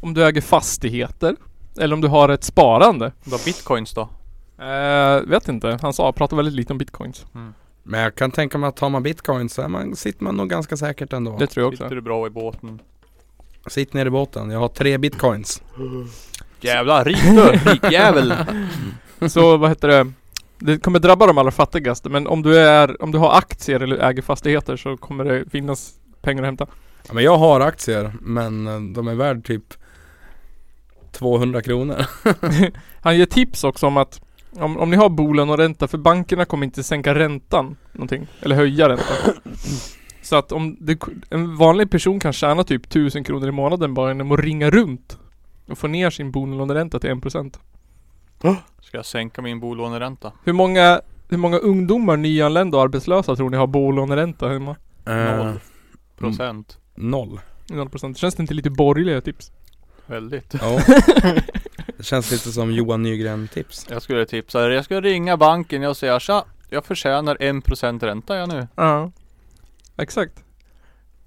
[SPEAKER 1] Om du äger fastigheter. Eller om du har ett sparande.
[SPEAKER 3] Då bitcoins då?
[SPEAKER 1] Eh, vet inte. Han sa, pratar väldigt lite om bitcoins.
[SPEAKER 2] Men jag kan tänka mig att har man bitcoin så är man, sitter man nog ganska säkert ändå.
[SPEAKER 1] Det tror jag också.
[SPEAKER 3] Sitter du bra i båten?
[SPEAKER 2] Sitt ner i båten, jag har tre bitcoins.
[SPEAKER 3] Jävla rik du, rik jävel!
[SPEAKER 1] Så vad heter det? Det kommer drabba de allra fattigaste men om du, är, om du har aktier eller äger fastigheter så kommer det finnas pengar att hämta.
[SPEAKER 2] Ja, men jag har aktier, men eh, de är värd typ 200 kronor.
[SPEAKER 1] Han ger tips också om att om, om ni har bolån och ränta, för bankerna kommer inte sänka räntan någonting, eller höja räntan. Så att om det, en vanlig person kan tjäna typ 1000 kronor i månaden bara genom att ringa runt och få ner sin bolåneränta till 1%.
[SPEAKER 3] Ska jag sänka min bolåneränta?
[SPEAKER 1] Hur många, hur många ungdomar, nyanlända och arbetslösa tror ni har bolåneränta hemma?
[SPEAKER 2] Eh,
[SPEAKER 3] Noll. Procent.
[SPEAKER 2] noll.
[SPEAKER 1] 0%. Känns det inte lite borgerliga tips?
[SPEAKER 3] Väldigt.
[SPEAKER 2] Ja. Det känns lite som Johan Nygren-tips.
[SPEAKER 3] Jag skulle tipsa er, jag ska ringa banken och säga tja, jag förtjänar 1% ränta jag nu.
[SPEAKER 1] Ja. Exakt.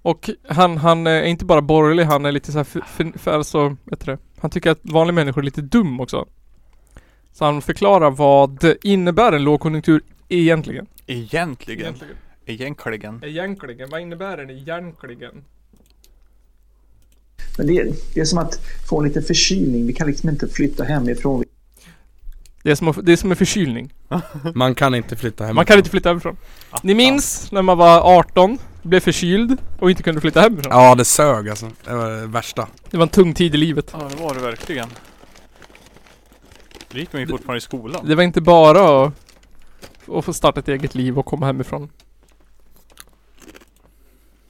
[SPEAKER 1] Och han, han är inte bara borgerlig, han är lite så här för, för, för alltså, vet du det? Han tycker att vanliga människor är lite dum också. Så han förklarar vad innebär en lågkonjunktur egentligen.
[SPEAKER 3] Egentligen. Mm. Egentligen.
[SPEAKER 1] Egentligen, vad innebär den egentligen?
[SPEAKER 4] Men det, det är som att få en liten förkylning. Vi kan liksom inte flytta hemifrån.
[SPEAKER 1] Det är som, att- det är som en förkylning.
[SPEAKER 2] Man kan inte flytta hem.
[SPEAKER 1] Man kan inte flytta hemifrån. Ni minns när man var 18, blev förkyld och inte kunde flytta hemifrån.
[SPEAKER 2] Ja det sög alltså. Det var det värsta.
[SPEAKER 1] Det var en tung tid i livet.
[SPEAKER 3] Ja det var det verkligen. Det gick man ju fortfarande i skolan.
[SPEAKER 1] Det var inte bara att, att få starta ett eget liv och komma hemifrån.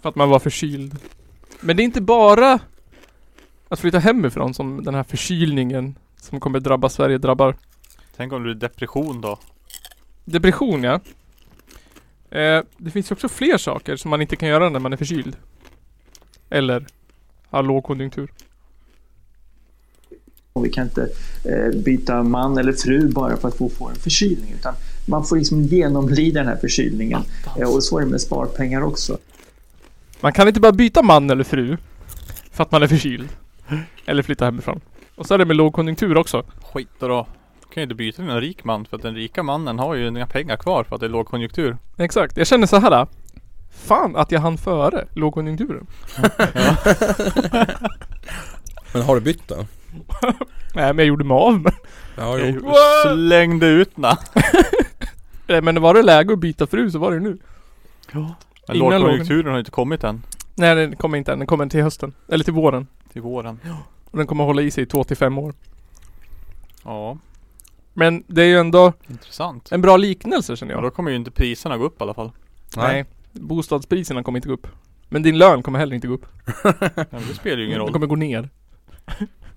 [SPEAKER 1] För att man var förkyld. Men det är inte bara att flytta hemifrån som den här förkylningen som kommer drabba Sverige drabbar.
[SPEAKER 3] Tänk om du är depression då?
[SPEAKER 1] Depression ja. Eh, det finns ju också fler saker som man inte kan göra när man är förkyld. Eller har lågkonjunktur.
[SPEAKER 4] Vi kan inte eh, byta man eller fru bara för att få, få en förkylning. Utan man får liksom genomlida den här förkylningen. Eh, och så är det med sparpengar också.
[SPEAKER 1] Man kan inte bara byta man eller fru för att man är förkyld. Eller flytta hemifrån. Och så är det med lågkonjunktur också.
[SPEAKER 3] Skit då. Du kan ju inte byta till en rik man för att den rika mannen har ju inga pengar kvar för att det är lågkonjunktur.
[SPEAKER 1] Exakt, jag känner så här. Fan att jag hann före lågkonjunkturen.
[SPEAKER 2] Men har du bytt då?
[SPEAKER 1] Nej men jag gjorde mig av med.
[SPEAKER 2] Ja,
[SPEAKER 3] Jag
[SPEAKER 2] jo.
[SPEAKER 3] ju- Slängde ut na.
[SPEAKER 1] Nej Eh, men var det läge att byta fru så var det ju nu.
[SPEAKER 3] Men
[SPEAKER 1] Innan
[SPEAKER 3] lågkonjunkturen har ju inte kommit än.
[SPEAKER 1] Nej den kommer inte än, den kommer till hösten. Eller till våren.
[SPEAKER 3] Till våren.
[SPEAKER 1] Och den kommer hålla i sig i två till fem år.
[SPEAKER 3] Ja,
[SPEAKER 1] Men det är ju ändå
[SPEAKER 3] intressant.
[SPEAKER 1] en bra liknelse känner
[SPEAKER 3] Ja,
[SPEAKER 1] jag.
[SPEAKER 3] då kommer ju inte priserna gå upp i alla fall.
[SPEAKER 2] Nej.
[SPEAKER 1] Bostadspriserna kommer inte gå upp. Men din lön kommer heller inte gå upp.
[SPEAKER 3] Men det spelar ju ingen
[SPEAKER 1] Den
[SPEAKER 3] roll.
[SPEAKER 1] kommer gå ner.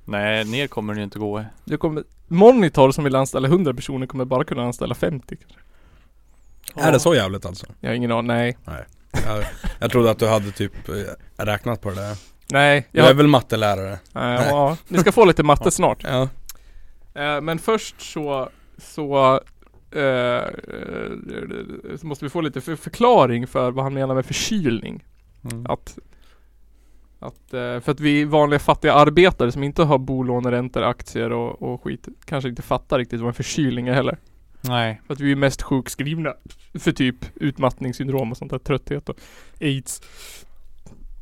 [SPEAKER 3] Nej, ner kommer den ju inte gå.
[SPEAKER 1] Du kommer... Monitor som vill anställa 100 personer kommer bara kunna anställa 50. kanske.
[SPEAKER 2] Är det så jävligt alltså?
[SPEAKER 1] Jag har ingen aning. Nej.
[SPEAKER 2] Jag, jag trodde att du hade typ eh, räknat på det där.
[SPEAKER 1] Nej.
[SPEAKER 2] Du
[SPEAKER 1] Jag...
[SPEAKER 2] är väl mattelärare?
[SPEAKER 1] Nej. Ja. Ni ska få lite matte snart.
[SPEAKER 2] Ja.
[SPEAKER 1] Eh, men först så, så, eh, eh, så måste vi få lite för förklaring för vad han menar med förkylning.
[SPEAKER 2] Mm.
[SPEAKER 1] Att, att, eh, för att vi vanliga fattiga arbetare som inte har bolåneräntor, aktier och, och skit kanske inte fattar riktigt vad en förkylning är heller.
[SPEAKER 3] Nej.
[SPEAKER 1] För att vi är mest sjukskrivna för typ utmattningssyndrom och sånt där, trötthet och aids.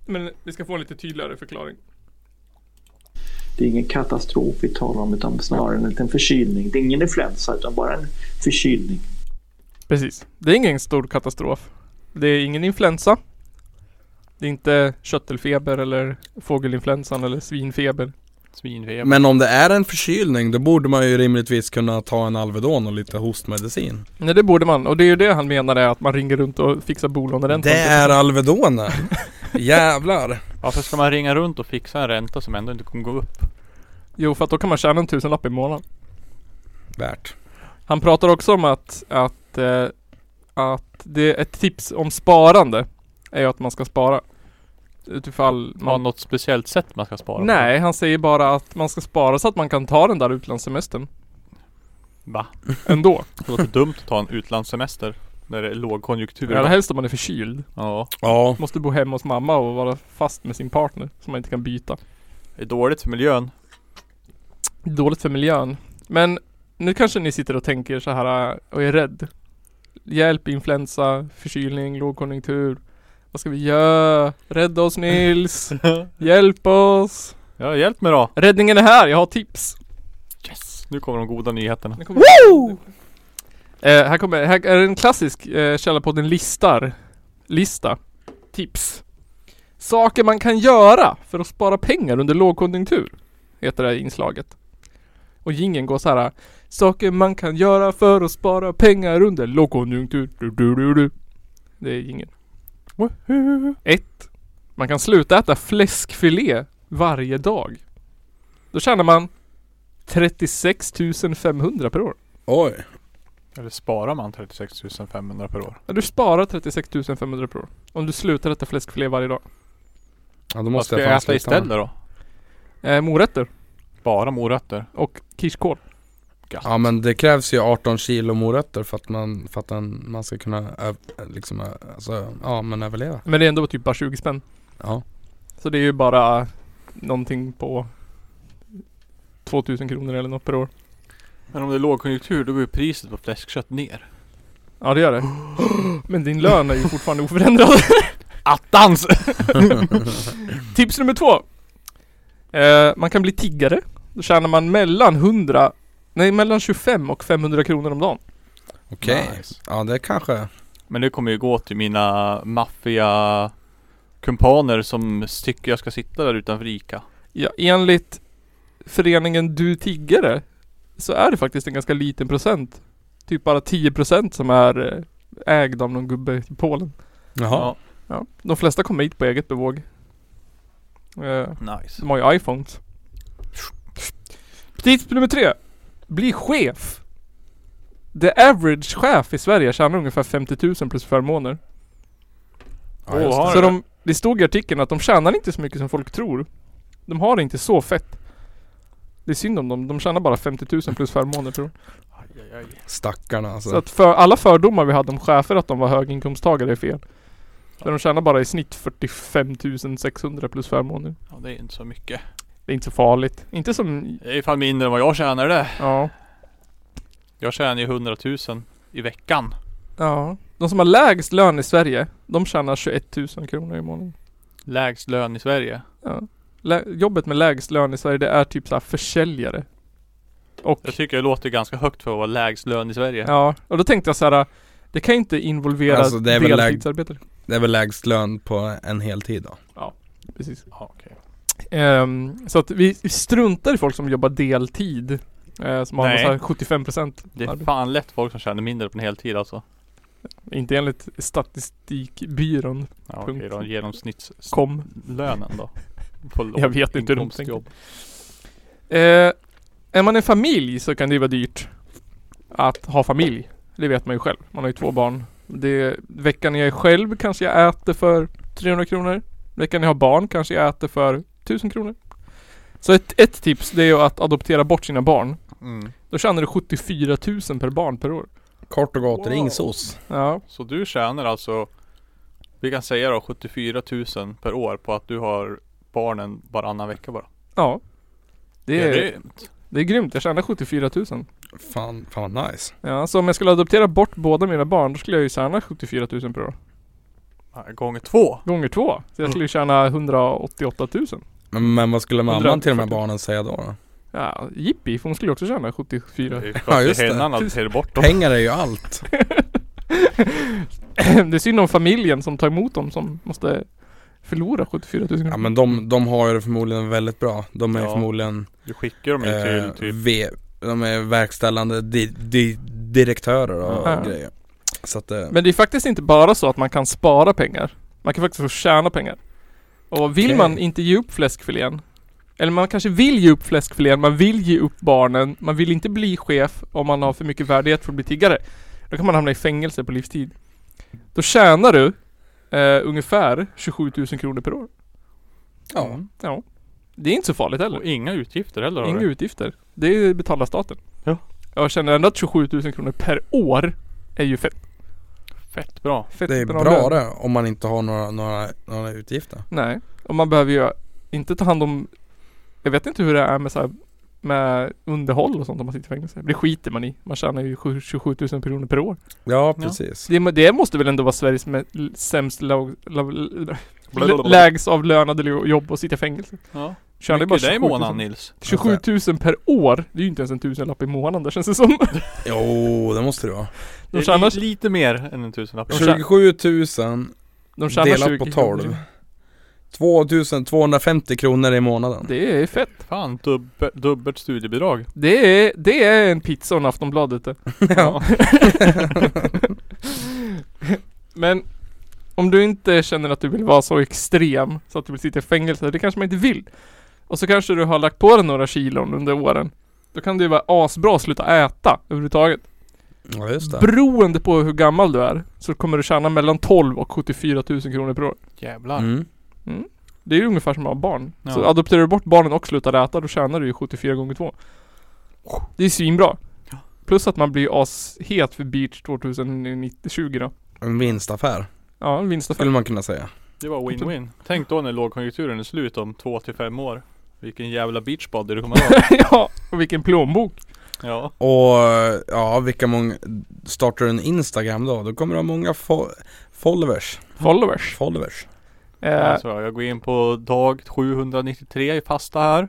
[SPEAKER 1] Men vi ska få en lite tydligare förklaring.
[SPEAKER 4] Det är ingen katastrof vi talar om utan snarare en liten förkylning. Det är ingen influensa utan bara en förkylning.
[SPEAKER 1] Precis. Det är ingen stor katastrof. Det är ingen influensa. Det är inte köttelfeber eller fågelinfluensan eller svinfeber.
[SPEAKER 3] Svinfeber.
[SPEAKER 2] Men om det är en förkylning då borde man ju rimligtvis kunna ta en Alvedon och lite hostmedicin.
[SPEAKER 1] Nej det borde man. Och det är ju det han menar är att man ringer runt och fixar bolåneräntan.
[SPEAKER 2] Det är Alvedoner! Jävlar!
[SPEAKER 3] Varför ska man ringa runt och fixa en ränta som ändå inte kommer gå upp?
[SPEAKER 1] Jo för att då kan man tjäna en tusenlapp i månaden.
[SPEAKER 2] Värt.
[SPEAKER 1] Han pratar också om att, att, eh, att det ett tips om sparande är ju att man ska spara. Utifall
[SPEAKER 3] Har
[SPEAKER 2] Mm.
[SPEAKER 1] man...
[SPEAKER 3] något speciellt sätt man ska spara på?
[SPEAKER 1] Nej, han säger bara att man ska spara så att man kan ta den där utlandssemestern
[SPEAKER 3] Va?
[SPEAKER 1] ändå.
[SPEAKER 3] Det låter dumt att ta en utlandssemester när det är lågkonjunktur.
[SPEAKER 1] Eller helst om man är förkyld.
[SPEAKER 3] Ja.
[SPEAKER 2] Ja,
[SPEAKER 1] Måste bo hemma hos mamma och vara fast med sin partner som man inte kan byta.
[SPEAKER 3] Det är dåligt för miljön.
[SPEAKER 1] Dåligt för miljön. Men nu kanske ni sitter och tänker så här äh, och är rädd. hjälp, influensa, förkylning, lågkonjunktur. Vad ska vi göra? Rädda oss Nils! Hjälp oss!
[SPEAKER 3] Ja, hjälp mig då!
[SPEAKER 1] Räddningen är här, jag har tips!
[SPEAKER 3] Yes! Nu kommer de goda nyheterna.
[SPEAKER 1] Nu kommer Eh, här kommer, här är en klassisk eh, Källarpodden listar. Lista. Tips. Saker man kan göra för att spara pengar under lågkonjunktur. Heter det här inslaget. Och jingeln går så här. Saker man kan göra för att spara pengar under lågkonjunktur. Du, du, du, du. Det är jingeln. 1. Man kan sluta äta fläskfilé varje dag. Då tjänar man 36 500 per år.
[SPEAKER 2] Oj.
[SPEAKER 3] Eller sparar man 36 500 per år?
[SPEAKER 1] Ja, Du sparar 36 500 per år. Om du slutar äta fläskfilé varje dag.
[SPEAKER 2] Ja, då
[SPEAKER 3] Vad
[SPEAKER 2] måste
[SPEAKER 3] ska
[SPEAKER 2] jag
[SPEAKER 3] jag
[SPEAKER 2] fan
[SPEAKER 3] äta
[SPEAKER 2] sluta med.
[SPEAKER 3] istället då?
[SPEAKER 1] Eh, morötter
[SPEAKER 3] Bara morötter?
[SPEAKER 1] och kirskål.
[SPEAKER 2] Ja men det krävs ju 18 kilo morötter för att man, för att en, man ska kunna ö- liksom, ö- alltså, ja men överleva.
[SPEAKER 1] Men det är ändå typ bara 20 spänn.
[SPEAKER 2] Ja.
[SPEAKER 1] Så det är ju bara någonting på 2000 kronor eller något per år.
[SPEAKER 3] Men om det är lågkonjunktur då går ju priset på fläskkött ner.
[SPEAKER 1] Ja det gör det. Men din lön är ju fortfarande oförändrad.
[SPEAKER 3] Attans!
[SPEAKER 1] Tips nummer två. Eh, man kan bli tiggare. Då tjänar man mellan 100 Nej mellan 25 och 500 kronor om dagen.
[SPEAKER 2] Okej.
[SPEAKER 3] Nice.
[SPEAKER 2] Ja det kanske.
[SPEAKER 3] Men det kommer ju gå till mina maffia kumpaner som tycker jag ska sitta där utanför ICA.
[SPEAKER 1] Ja, enligt föreningen Du Tiggare så är det faktiskt en ganska liten procent. Typ bara 10% som är eh, ägd av någon gubbe i Polen.
[SPEAKER 2] Jaha.
[SPEAKER 1] Ja. De flesta kommer hit på eget bevåg. Eh,
[SPEAKER 3] Ja, nice.
[SPEAKER 1] de har ju iPhones. Tips nummer tre. Bli chef. The average chef i Sverige tjänar ungefär 50 000 plus förmåner.
[SPEAKER 2] Ja, just
[SPEAKER 3] Åh,
[SPEAKER 2] det.
[SPEAKER 1] Så de, det stod i artikeln att de tjänar inte så mycket som folk tror. De har det inte så fett. Det är synd om dem. De tjänar bara 50 000 plus förmåner tror jag.
[SPEAKER 2] Stackarna alltså.
[SPEAKER 1] Så att för alla fördomar vi hade om chefer att de var höginkomsttagare är fel. För de tjänar bara i snitt 45 600 plus förmåner.
[SPEAKER 3] Ja, det är inte så mycket.
[SPEAKER 1] Det är inte så farligt. Inte som...
[SPEAKER 3] Det är fan mindre än vad jag tjänar det.
[SPEAKER 1] Ja.
[SPEAKER 3] Jag tjänar ju 100 000 i veckan.
[SPEAKER 1] Ja. De som har lägst lön i Sverige, de tjänar 21 000 kronor i månaden.
[SPEAKER 3] Lägst lön i Sverige.
[SPEAKER 1] Lä- jobbet med lägst lön i Sverige det är typ så här försäljare. Och
[SPEAKER 3] Jag tycker det låter ganska högt för att vara lägst lön i Sverige.
[SPEAKER 1] Ja, och då tänkte jag så här. äh, Det kan ju inte involvera
[SPEAKER 2] Alltså, det är väl lägg-
[SPEAKER 1] deltidsarbetare.
[SPEAKER 2] Det är väl lägst lön på en heltid då.
[SPEAKER 1] Precis.
[SPEAKER 3] Ja, okej.
[SPEAKER 1] Ehm, så att vi struntar i folk som jobbar deltid. eh, som har
[SPEAKER 3] Nej.
[SPEAKER 1] så här 75 procent.
[SPEAKER 3] Det är fan lätt folk som tjänar mindre på en heltid alltså.
[SPEAKER 1] Inte enligt statistikbyrån.
[SPEAKER 3] Ja, okej
[SPEAKER 1] Punkt.
[SPEAKER 3] då. Genomsnittslönen
[SPEAKER 1] Kom.
[SPEAKER 3] då. På
[SPEAKER 1] Jag vet inte hur de
[SPEAKER 3] låginkomstjobb.
[SPEAKER 1] Eh, är man en familj så kan det ju vara dyrt att ha familj. Det vet man ju själv. Man har ju två barn. Det, veckan jag är själv kanske jag äter för 300 kronor. Veckan jag har barn kanske jag äter för 1000 kronor. Så ett, ett tips det är ju att adoptera bort sina barn.
[SPEAKER 3] Mm.
[SPEAKER 1] Då tjänar du 74 000 per barn per år.
[SPEAKER 2] Kort och gott,
[SPEAKER 3] Wow.
[SPEAKER 2] ring SOS.
[SPEAKER 1] Ja,
[SPEAKER 3] Så du tjänar alltså Vi kan säga då 74 000 per år på att du har barnen varannan vecka bara.
[SPEAKER 1] ja. Det
[SPEAKER 3] Ja,
[SPEAKER 1] är,
[SPEAKER 3] grymt.
[SPEAKER 1] det är grymt. Jag tjänar 74 000.
[SPEAKER 2] Fan, fan vad nice.
[SPEAKER 1] Ja, så om jag skulle adoptera bort båda mina barn då skulle jag ju tjäna 74 000 per år.
[SPEAKER 3] Ja, Gånger två.
[SPEAKER 1] Gånger två. Så jag skulle ju tjäna 188 000.
[SPEAKER 2] Men, men vad skulle mamman till de här
[SPEAKER 1] 140.
[SPEAKER 2] barnen säga då? då?
[SPEAKER 1] Ja, jippi, för hon skulle ju också tjäna 74.
[SPEAKER 3] Det är ju
[SPEAKER 2] Ja,
[SPEAKER 3] klart
[SPEAKER 2] just
[SPEAKER 3] det är
[SPEAKER 2] det.
[SPEAKER 3] hennan adopterar bort dem.
[SPEAKER 2] Pengar är ju allt.
[SPEAKER 1] det är synd om familjen som tar emot dem som måste förlora 74 000
[SPEAKER 2] Ja men de, de har ju det förmodligen väldigt bra. De är
[SPEAKER 3] Ja.
[SPEAKER 2] förmodligen
[SPEAKER 3] Du skickar dem ju
[SPEAKER 2] eh,
[SPEAKER 3] till typ
[SPEAKER 2] v, de är verkställande di, di, direktörer och
[SPEAKER 1] Ja.
[SPEAKER 2] grejer. Så att eh,
[SPEAKER 1] Men det är faktiskt inte bara så att man kan spara pengar. Man kan faktiskt få tjäna pengar. Och vill
[SPEAKER 2] Okej.
[SPEAKER 1] man inte ge upp fläskfilén, eller man kanske vill ge upp fläskfilén, man vill ge upp barnen, man vill inte bli chef om man har för mycket värdighet för att bli tiggare. Då kan man hamna i fängelse på livstid. Då tjänar du eh, ungefär 27 000 kronor per år.
[SPEAKER 2] ja.
[SPEAKER 1] Ja. Det är inte så farligt heller.
[SPEAKER 3] Och inga utgifter heller har
[SPEAKER 1] Inga
[SPEAKER 3] du.
[SPEAKER 1] utgifter. Det betalar staten.
[SPEAKER 3] Ja.
[SPEAKER 1] Jag känner ändå att 27 000 kronor per år är ju fett.
[SPEAKER 3] Fett bra.
[SPEAKER 1] fett
[SPEAKER 2] Det är
[SPEAKER 1] bra
[SPEAKER 2] bra
[SPEAKER 1] lön.
[SPEAKER 2] det om man inte har några, några, några utgifter.
[SPEAKER 1] Nej. Och man behöver ju inte ta hand om... Jag vet inte hur det är med så här med underhåll och sånt om man sitter i fängelse. Det skiter man i. Man tjänar ju sju- 27 000 kronor per år.
[SPEAKER 2] Ja, precis.
[SPEAKER 1] Det, må- det måste väl ändå vara Sveriges med, l- sämst lag, lag, lägsavlönade lo- jobb att sitta i fängelse.
[SPEAKER 3] Ja.
[SPEAKER 1] Tjänar ju
[SPEAKER 3] Mycket dig i
[SPEAKER 1] 27 000.
[SPEAKER 3] månaden Nils.
[SPEAKER 1] 27 000 per år. Det är ju inte ens en tusenlapp i månaden det känns det som.
[SPEAKER 2] Jo, det måste det vara.
[SPEAKER 3] Det
[SPEAKER 1] De
[SPEAKER 3] är
[SPEAKER 1] tjänar,
[SPEAKER 3] li- lite mer än en tusenlapp.
[SPEAKER 1] De tjänar-
[SPEAKER 2] 27 000
[SPEAKER 1] de tjänar
[SPEAKER 2] delat på
[SPEAKER 1] 20
[SPEAKER 2] 12. 2250 kronor i månaden.
[SPEAKER 1] Det är fett.
[SPEAKER 3] Fan, dubbe, dubbelt studiebidrag.
[SPEAKER 1] Det är, det är en pizza och en Aftonbladet eh. det.
[SPEAKER 2] Ja.
[SPEAKER 1] Men om du inte känner att du vill vara så extrem så att du vill sitta i fängelse, det kanske man inte vill. Och så kanske du har lagt på dig några kilon under åren. Då kan det ju vara asbra att sluta äta överhuvudtaget.
[SPEAKER 2] ja, just det.
[SPEAKER 1] Beroende på hur gammal du är så kommer du tjäna mellan 12 och 74 000 kronor per år.
[SPEAKER 3] Jävlar.
[SPEAKER 2] Mm.
[SPEAKER 1] Det är ju ungefär som att ha barn.
[SPEAKER 3] Ja.
[SPEAKER 1] Så adopterar du bort barnen och slutar äta, då tjänar du ju 74 gånger 2. Det är svinbra. Plus att man blir ashet för Beach 2020 då.
[SPEAKER 2] En vinstaffär,
[SPEAKER 1] Ja, en vinstaffär.
[SPEAKER 2] skulle man kunna säga.
[SPEAKER 3] Det var win-win. Tänk då när lågkonjunkturen är slut om två till fem år. Vilken jävla beachbody du kommer ha.
[SPEAKER 1] ja, och vilken plånbok.
[SPEAKER 3] Ja.
[SPEAKER 2] Och ja, vilka många... Startar du en Instagram då? Då kommer du ha många fo- followers.
[SPEAKER 1] Followers.
[SPEAKER 2] Followers.
[SPEAKER 1] Eh,
[SPEAKER 3] Alltså, jag går in på dag 793 i fasta här.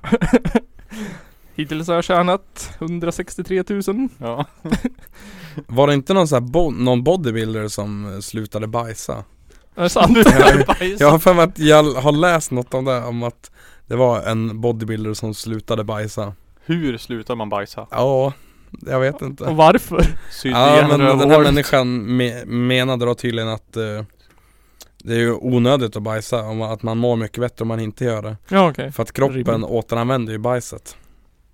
[SPEAKER 1] hittills har jag tjänat 163 000.
[SPEAKER 3] Ja.
[SPEAKER 2] Var det inte någon sån här bo- någon bodybuilder som eh, slutade bajsa?
[SPEAKER 1] Är det sant?
[SPEAKER 3] Bajs.
[SPEAKER 2] Jag har för mig att jag har läst något om det, om att det var en bodybuilder som slutade bajsa.
[SPEAKER 3] Hur slutar man bajsa?
[SPEAKER 2] Ja, jag vet inte.
[SPEAKER 1] Och varför?
[SPEAKER 3] Sydde
[SPEAKER 2] Ja
[SPEAKER 3] igen
[SPEAKER 2] men den här
[SPEAKER 3] rövhålet.
[SPEAKER 2] människan me- menade då tydligen att eh, det är ju onödigt att bajsa, om att man mår mycket bättre om man inte gör det.
[SPEAKER 1] Ja okej.
[SPEAKER 2] För att kroppen
[SPEAKER 1] Rimligt.
[SPEAKER 2] återanvänder ju bajset.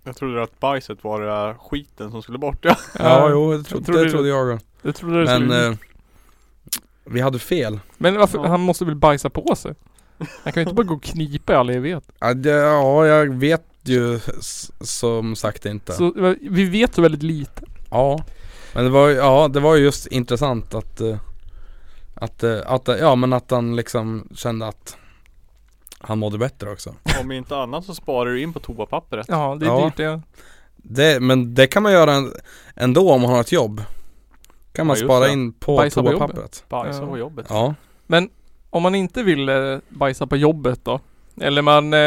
[SPEAKER 3] Jag trodde att bajset var det där skiten som skulle bort ja.
[SPEAKER 2] Ja,
[SPEAKER 1] Eh,
[SPEAKER 2] jo, det, tro-
[SPEAKER 1] trodde
[SPEAKER 2] det
[SPEAKER 1] det.
[SPEAKER 2] trodde jag också.
[SPEAKER 1] Jag trodde det
[SPEAKER 2] Men
[SPEAKER 1] skulle...
[SPEAKER 2] eh, vi hade fel.
[SPEAKER 1] Men varför?
[SPEAKER 3] ja.
[SPEAKER 1] Han måste väl bajsa på sig? Han kan ju inte bara gå och knipa i all evighet.
[SPEAKER 2] Ja, det, ja, jag vet ju s- som sagt inte.
[SPEAKER 1] Så eh, vi vet så väldigt lite.
[SPEAKER 2] Ja. Men det var, ju- ja, det var ju just intressant att, eh, att, eh, att, ja men att han liksom kände att han mådde bättre också.
[SPEAKER 3] Om inte annat så sparar du in på toapappret.
[SPEAKER 1] Ja, det är
[SPEAKER 2] Ja.
[SPEAKER 1] dyrt det.
[SPEAKER 2] Det, men det kan man göra en- ändå om man har ett jobb. Kan man
[SPEAKER 3] Ja, just
[SPEAKER 2] spara
[SPEAKER 3] det.
[SPEAKER 2] in på
[SPEAKER 1] Bajsa på
[SPEAKER 2] toapappret.
[SPEAKER 3] Bajsa
[SPEAKER 1] Ja.
[SPEAKER 3] på jobbet.
[SPEAKER 2] Ja.
[SPEAKER 1] Om man inte vill eh, bajsa på jobbet då? Eller man eh,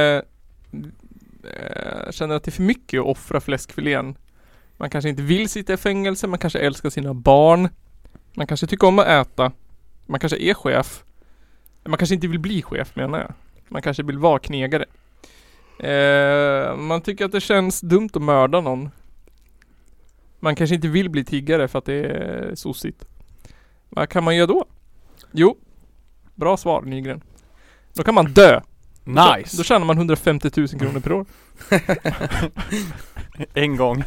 [SPEAKER 1] eh, känner att det är för mycket att offra fläskfilén. Man kanske inte vill sitta i fängelse, man kanske älskar sina barn. Man kanske tycker om att äta. Man kanske är chef. Man kanske inte vill bli chef menar jag. Man kanske vill vara knegare. Eh, man tycker att det känns dumt att mörda någon. Man kanske inte vill bli tiggare för att det är sossigt. Vad kan man göra då? Jo, Bra svar Nygren. Då kan man dö. Då, då
[SPEAKER 3] Nice!
[SPEAKER 1] tjänar man 150 000 kronor per år.
[SPEAKER 3] En gång.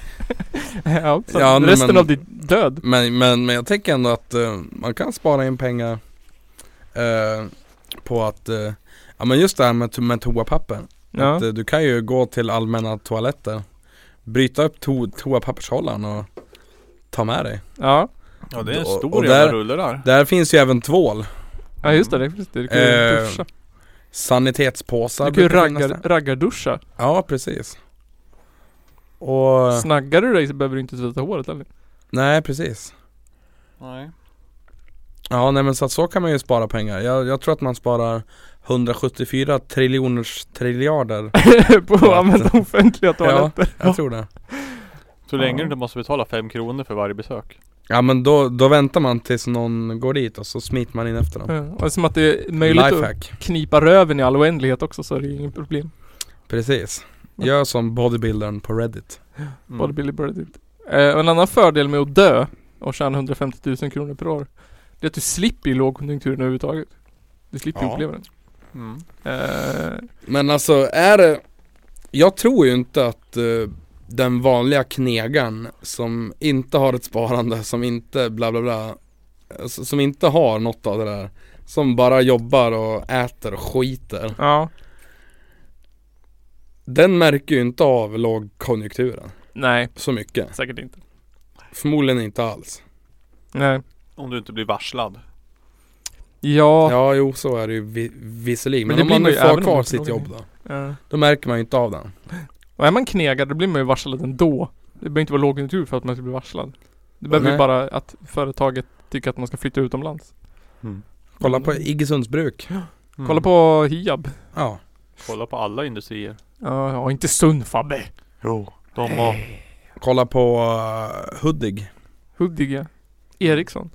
[SPEAKER 1] ja, så
[SPEAKER 2] Ja, nej,
[SPEAKER 1] resten
[SPEAKER 2] men-
[SPEAKER 1] av ditt död.
[SPEAKER 2] Men, men, men jag tänker ändå att eh, man kan spara in pengar eh, på att eh, Ja men just det här med, to- med toapapper.
[SPEAKER 1] Ja.
[SPEAKER 2] Att, eh, du kan ju gå till allmänna toaletter Bryta upp to- toapappershållaren och ta med dig.
[SPEAKER 1] ja.
[SPEAKER 3] Ja det är en
[SPEAKER 2] Och-
[SPEAKER 3] stor
[SPEAKER 2] och
[SPEAKER 3] jävla
[SPEAKER 2] där-
[SPEAKER 3] rulle där.
[SPEAKER 2] Där finns ju även tvål.
[SPEAKER 1] Ja just det, det, just det. Du kan ju
[SPEAKER 2] Eh,
[SPEAKER 1] duscha.
[SPEAKER 2] Sanitetspåsar
[SPEAKER 1] Du kan ju
[SPEAKER 2] brukar finnas
[SPEAKER 1] raggar,
[SPEAKER 2] där.
[SPEAKER 1] raggarduscha.
[SPEAKER 2] Ja precis. Och
[SPEAKER 1] Snaggar du dig så behöver du inte tvätta håret heller.
[SPEAKER 2] Nej precis.
[SPEAKER 3] Nej.
[SPEAKER 2] Ja nej men så att så kan man ju spara pengar. Jag, jag tror att man sparar 174 triljoners triljarder.
[SPEAKER 1] På att använda offentliga
[SPEAKER 2] ja,
[SPEAKER 1] toaletter.
[SPEAKER 2] jag tror det.
[SPEAKER 3] Så länge du inte måste betala fem kronor för varje besök.
[SPEAKER 2] Ja men då, då väntar man tills någon går dit och så smiter man in efter dem.
[SPEAKER 1] Ja. Och eftersom att det Mm, är möjligt att
[SPEAKER 2] Lifehack. Mm.
[SPEAKER 1] knipa röven i all oändlighet också så är det ju inget problem.
[SPEAKER 2] Precis. Gör som bodybuildern på Reddit.
[SPEAKER 3] Mm.
[SPEAKER 1] Både Billy Burdett. Eh, och en annan fördel med att dö och tjäna 150 000 kronor per år. Det är att du slipper ju lågkonjunkturen överhuvudtaget. Du slipper
[SPEAKER 2] Ja.
[SPEAKER 1] uppleva den.
[SPEAKER 3] Mm.
[SPEAKER 1] Eh,
[SPEAKER 2] Men alltså är det Jag tror ju inte att eh, den vanliga knegan som inte har ett sparande, som inte bla bla bla eh, s- Som inte har något av det där Som bara jobbar och äter och skiter
[SPEAKER 1] ja.
[SPEAKER 2] Den märker ju inte av lågkonjunkturen
[SPEAKER 1] Nej,
[SPEAKER 2] så mycket
[SPEAKER 1] säkert inte.
[SPEAKER 2] Förmodligen inte alls
[SPEAKER 1] Nej.
[SPEAKER 3] Om du inte blir varslad.
[SPEAKER 1] Ja.
[SPEAKER 2] Ja jo så är det ju vi, visserligen
[SPEAKER 1] Men
[SPEAKER 2] Men,
[SPEAKER 1] det
[SPEAKER 2] om
[SPEAKER 1] blir
[SPEAKER 2] man
[SPEAKER 1] man
[SPEAKER 2] nu
[SPEAKER 1] ju även
[SPEAKER 2] får
[SPEAKER 1] om
[SPEAKER 2] kvar
[SPEAKER 1] man
[SPEAKER 2] sitt
[SPEAKER 1] plågar
[SPEAKER 2] jobb
[SPEAKER 1] in.
[SPEAKER 2] då
[SPEAKER 1] ja.
[SPEAKER 2] Då märker man ju inte av den
[SPEAKER 1] Eh, Och är man knegare då blir man ju varslad ändå. Det behöver inte vara lågkonjunktur för att man ska bli varslad. Det behöver ju
[SPEAKER 2] Nej.
[SPEAKER 1] bara att företaget tycker att man ska flytta utomlands.
[SPEAKER 2] Kolla
[SPEAKER 1] Mm.
[SPEAKER 2] på Iggesunds bruk.
[SPEAKER 3] Mm.
[SPEAKER 1] Kolla på Hiab.
[SPEAKER 2] Ja.
[SPEAKER 3] Kolla på alla industrier.
[SPEAKER 1] Ja, ja, inte Sund Fabbe.
[SPEAKER 3] Jo. De var...
[SPEAKER 2] Kolla på eh, Hudig.
[SPEAKER 1] Huddinge. Eriksson.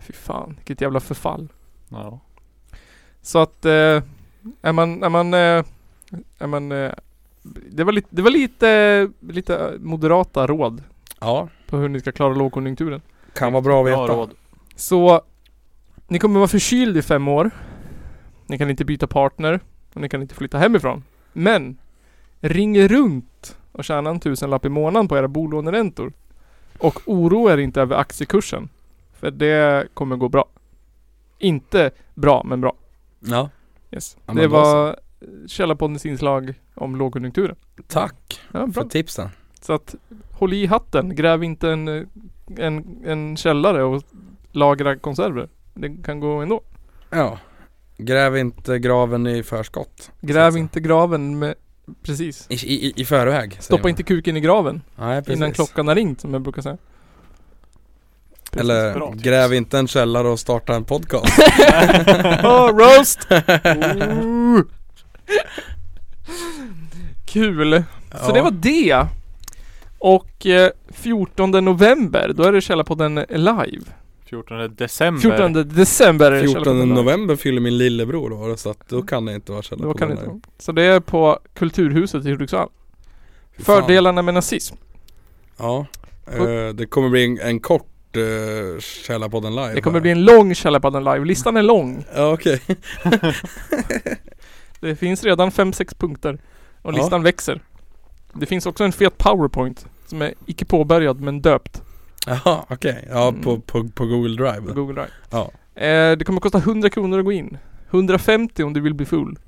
[SPEAKER 1] Fy fan, vilket jävla förfall.
[SPEAKER 3] Ja.
[SPEAKER 1] Så att, eh, är man, är man, eh, är man, eh, det var lite, det var lite, lite moderata råd
[SPEAKER 2] Ja.
[SPEAKER 1] på hur ni ska klara lågkonjunkturen.
[SPEAKER 2] Kan vara bra att
[SPEAKER 3] Bra
[SPEAKER 2] veta.
[SPEAKER 3] råd.
[SPEAKER 1] Så, ni kommer vara förkyld i fem år. Ni kan inte byta partner och ni kan inte flytta hemifrån. Men, ring runt och tjäna en tusenlapp i månaden på era bolåneräntor. Och oroa er inte över aktiekursen. För det kommer gå bra. Inte bra, men bra.
[SPEAKER 2] Ja.
[SPEAKER 1] Yes.
[SPEAKER 2] Ja, men
[SPEAKER 1] det
[SPEAKER 2] då så.
[SPEAKER 1] var Källarpoddens inslag om lågkonjunkturen.
[SPEAKER 2] Tack
[SPEAKER 1] Ja, bra.
[SPEAKER 2] för tipsen.
[SPEAKER 1] Så att håll i hatten, gräv inte en, eh, en, en källare och lagra konserver. Det kan gå ändå.
[SPEAKER 2] Ja. Gräv inte graven i förskott.
[SPEAKER 1] Gräv
[SPEAKER 2] Så-
[SPEAKER 1] inte graven med... Precis.
[SPEAKER 2] I, i, i förväg. säger
[SPEAKER 1] Stoppa
[SPEAKER 2] man.
[SPEAKER 1] inte kuken i graven
[SPEAKER 2] Nej, precis.
[SPEAKER 1] innan klockan har ringt som jag brukar säga. Precis.
[SPEAKER 2] Eller
[SPEAKER 3] Bra tips.
[SPEAKER 2] gräv inte en källare och starta en podcast.
[SPEAKER 1] Oh, roast! Ooh. Kul! Så det var det. Och eh, 14 november, då är det Källarpodden live.
[SPEAKER 3] 14 december.
[SPEAKER 1] 14 december är det
[SPEAKER 2] 14
[SPEAKER 1] Källarpodden live.
[SPEAKER 2] Mm. november fyller min lillebror år så att då kan det inte vara
[SPEAKER 1] Mm. Då
[SPEAKER 2] källarpodden.
[SPEAKER 1] kan det inte vara. Så det är på Kulturhuset i Hudiksvall.
[SPEAKER 2] Fy fan.
[SPEAKER 1] Fördelarna med nazism.
[SPEAKER 2] Ja. Eh, det kommer bli en, en kort uh, källarpodden live.
[SPEAKER 1] Det kommer
[SPEAKER 2] här.
[SPEAKER 1] bli en lång Källarpodden live. Listan är lång.
[SPEAKER 2] Ja okej.
[SPEAKER 1] Det finns redan 5-6 punkter. Och
[SPEAKER 2] Ja.
[SPEAKER 1] listan växer. Det finns också en fet powerpoint. Som är icke påbörjad men döpt
[SPEAKER 2] Jaha okej. Ja
[SPEAKER 1] Mm.
[SPEAKER 2] på, på, på Google
[SPEAKER 1] på
[SPEAKER 2] Drive.
[SPEAKER 1] Google Drive.
[SPEAKER 2] Ja.
[SPEAKER 1] Eh, det kommer kosta 100 kronor att gå in. 150 om du vill bli full.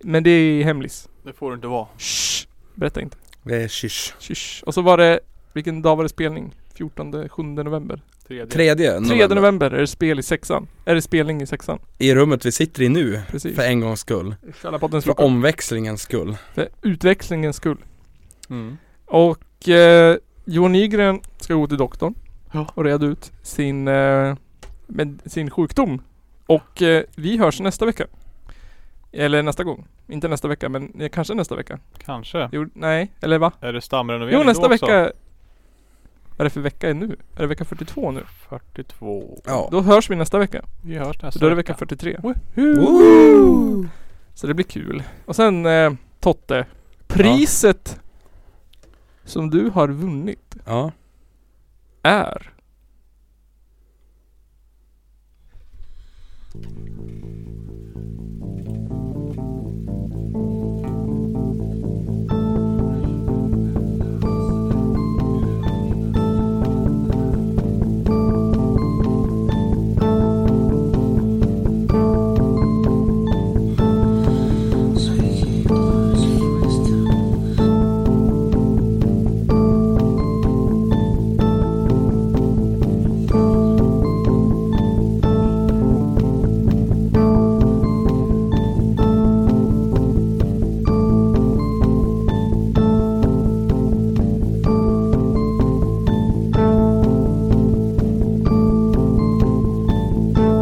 [SPEAKER 1] Men det är hemlis.
[SPEAKER 3] Det får det inte vara.
[SPEAKER 1] Shh. Berätta inte.
[SPEAKER 2] Det är shish.
[SPEAKER 1] Shh. Och så var det, vilken dag var det spelning? 14, 7 november.
[SPEAKER 3] Tredje.
[SPEAKER 2] Tredje november.
[SPEAKER 1] 3 november är det spel i sexan. Är det spelning i sexan?
[SPEAKER 2] I rummet vi sitter i nu.
[SPEAKER 1] Precis.
[SPEAKER 2] För en gångs skull.
[SPEAKER 1] Källarpoddens
[SPEAKER 2] För
[SPEAKER 1] frukost.
[SPEAKER 2] omväxlingens skull.
[SPEAKER 1] För utväxlingens skull.
[SPEAKER 3] Mm.
[SPEAKER 1] Och eh, Johan Nygren ska gå till doktorn
[SPEAKER 3] Ja.
[SPEAKER 1] och reda ut sin, eh, med, sin sjukdom. Och eh, vi hörs nästa vecka. Eller nästa gång. Inte nästa vecka men eh, kanske nästa vecka.
[SPEAKER 3] Kanske.
[SPEAKER 1] Jo, nej, eller va?
[SPEAKER 3] Är det stamrenovering
[SPEAKER 1] Jo
[SPEAKER 3] då
[SPEAKER 1] nästa
[SPEAKER 3] också?
[SPEAKER 1] vecka. Vad är det för vecka är nu? Är det vecka 42 nu?
[SPEAKER 3] 42.
[SPEAKER 2] Ja.
[SPEAKER 1] Då hörs vi nästa vecka.
[SPEAKER 3] Vi hörs nästa
[SPEAKER 1] Då är det vecka 43.
[SPEAKER 2] Woo!
[SPEAKER 1] Så det blir kul. Och sen eh, Totte. Priset som du har vunnit
[SPEAKER 2] Ja.
[SPEAKER 1] är...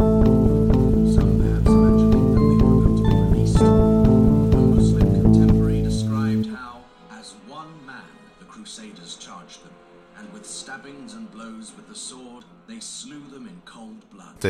[SPEAKER 6] Some maps mentioning that they were built to be released. A Muslim contemporary described how, as one man, the Crusaders charged them, and with stabbings and blows with the sword, they slew them in cold blood.
[SPEAKER 7] Det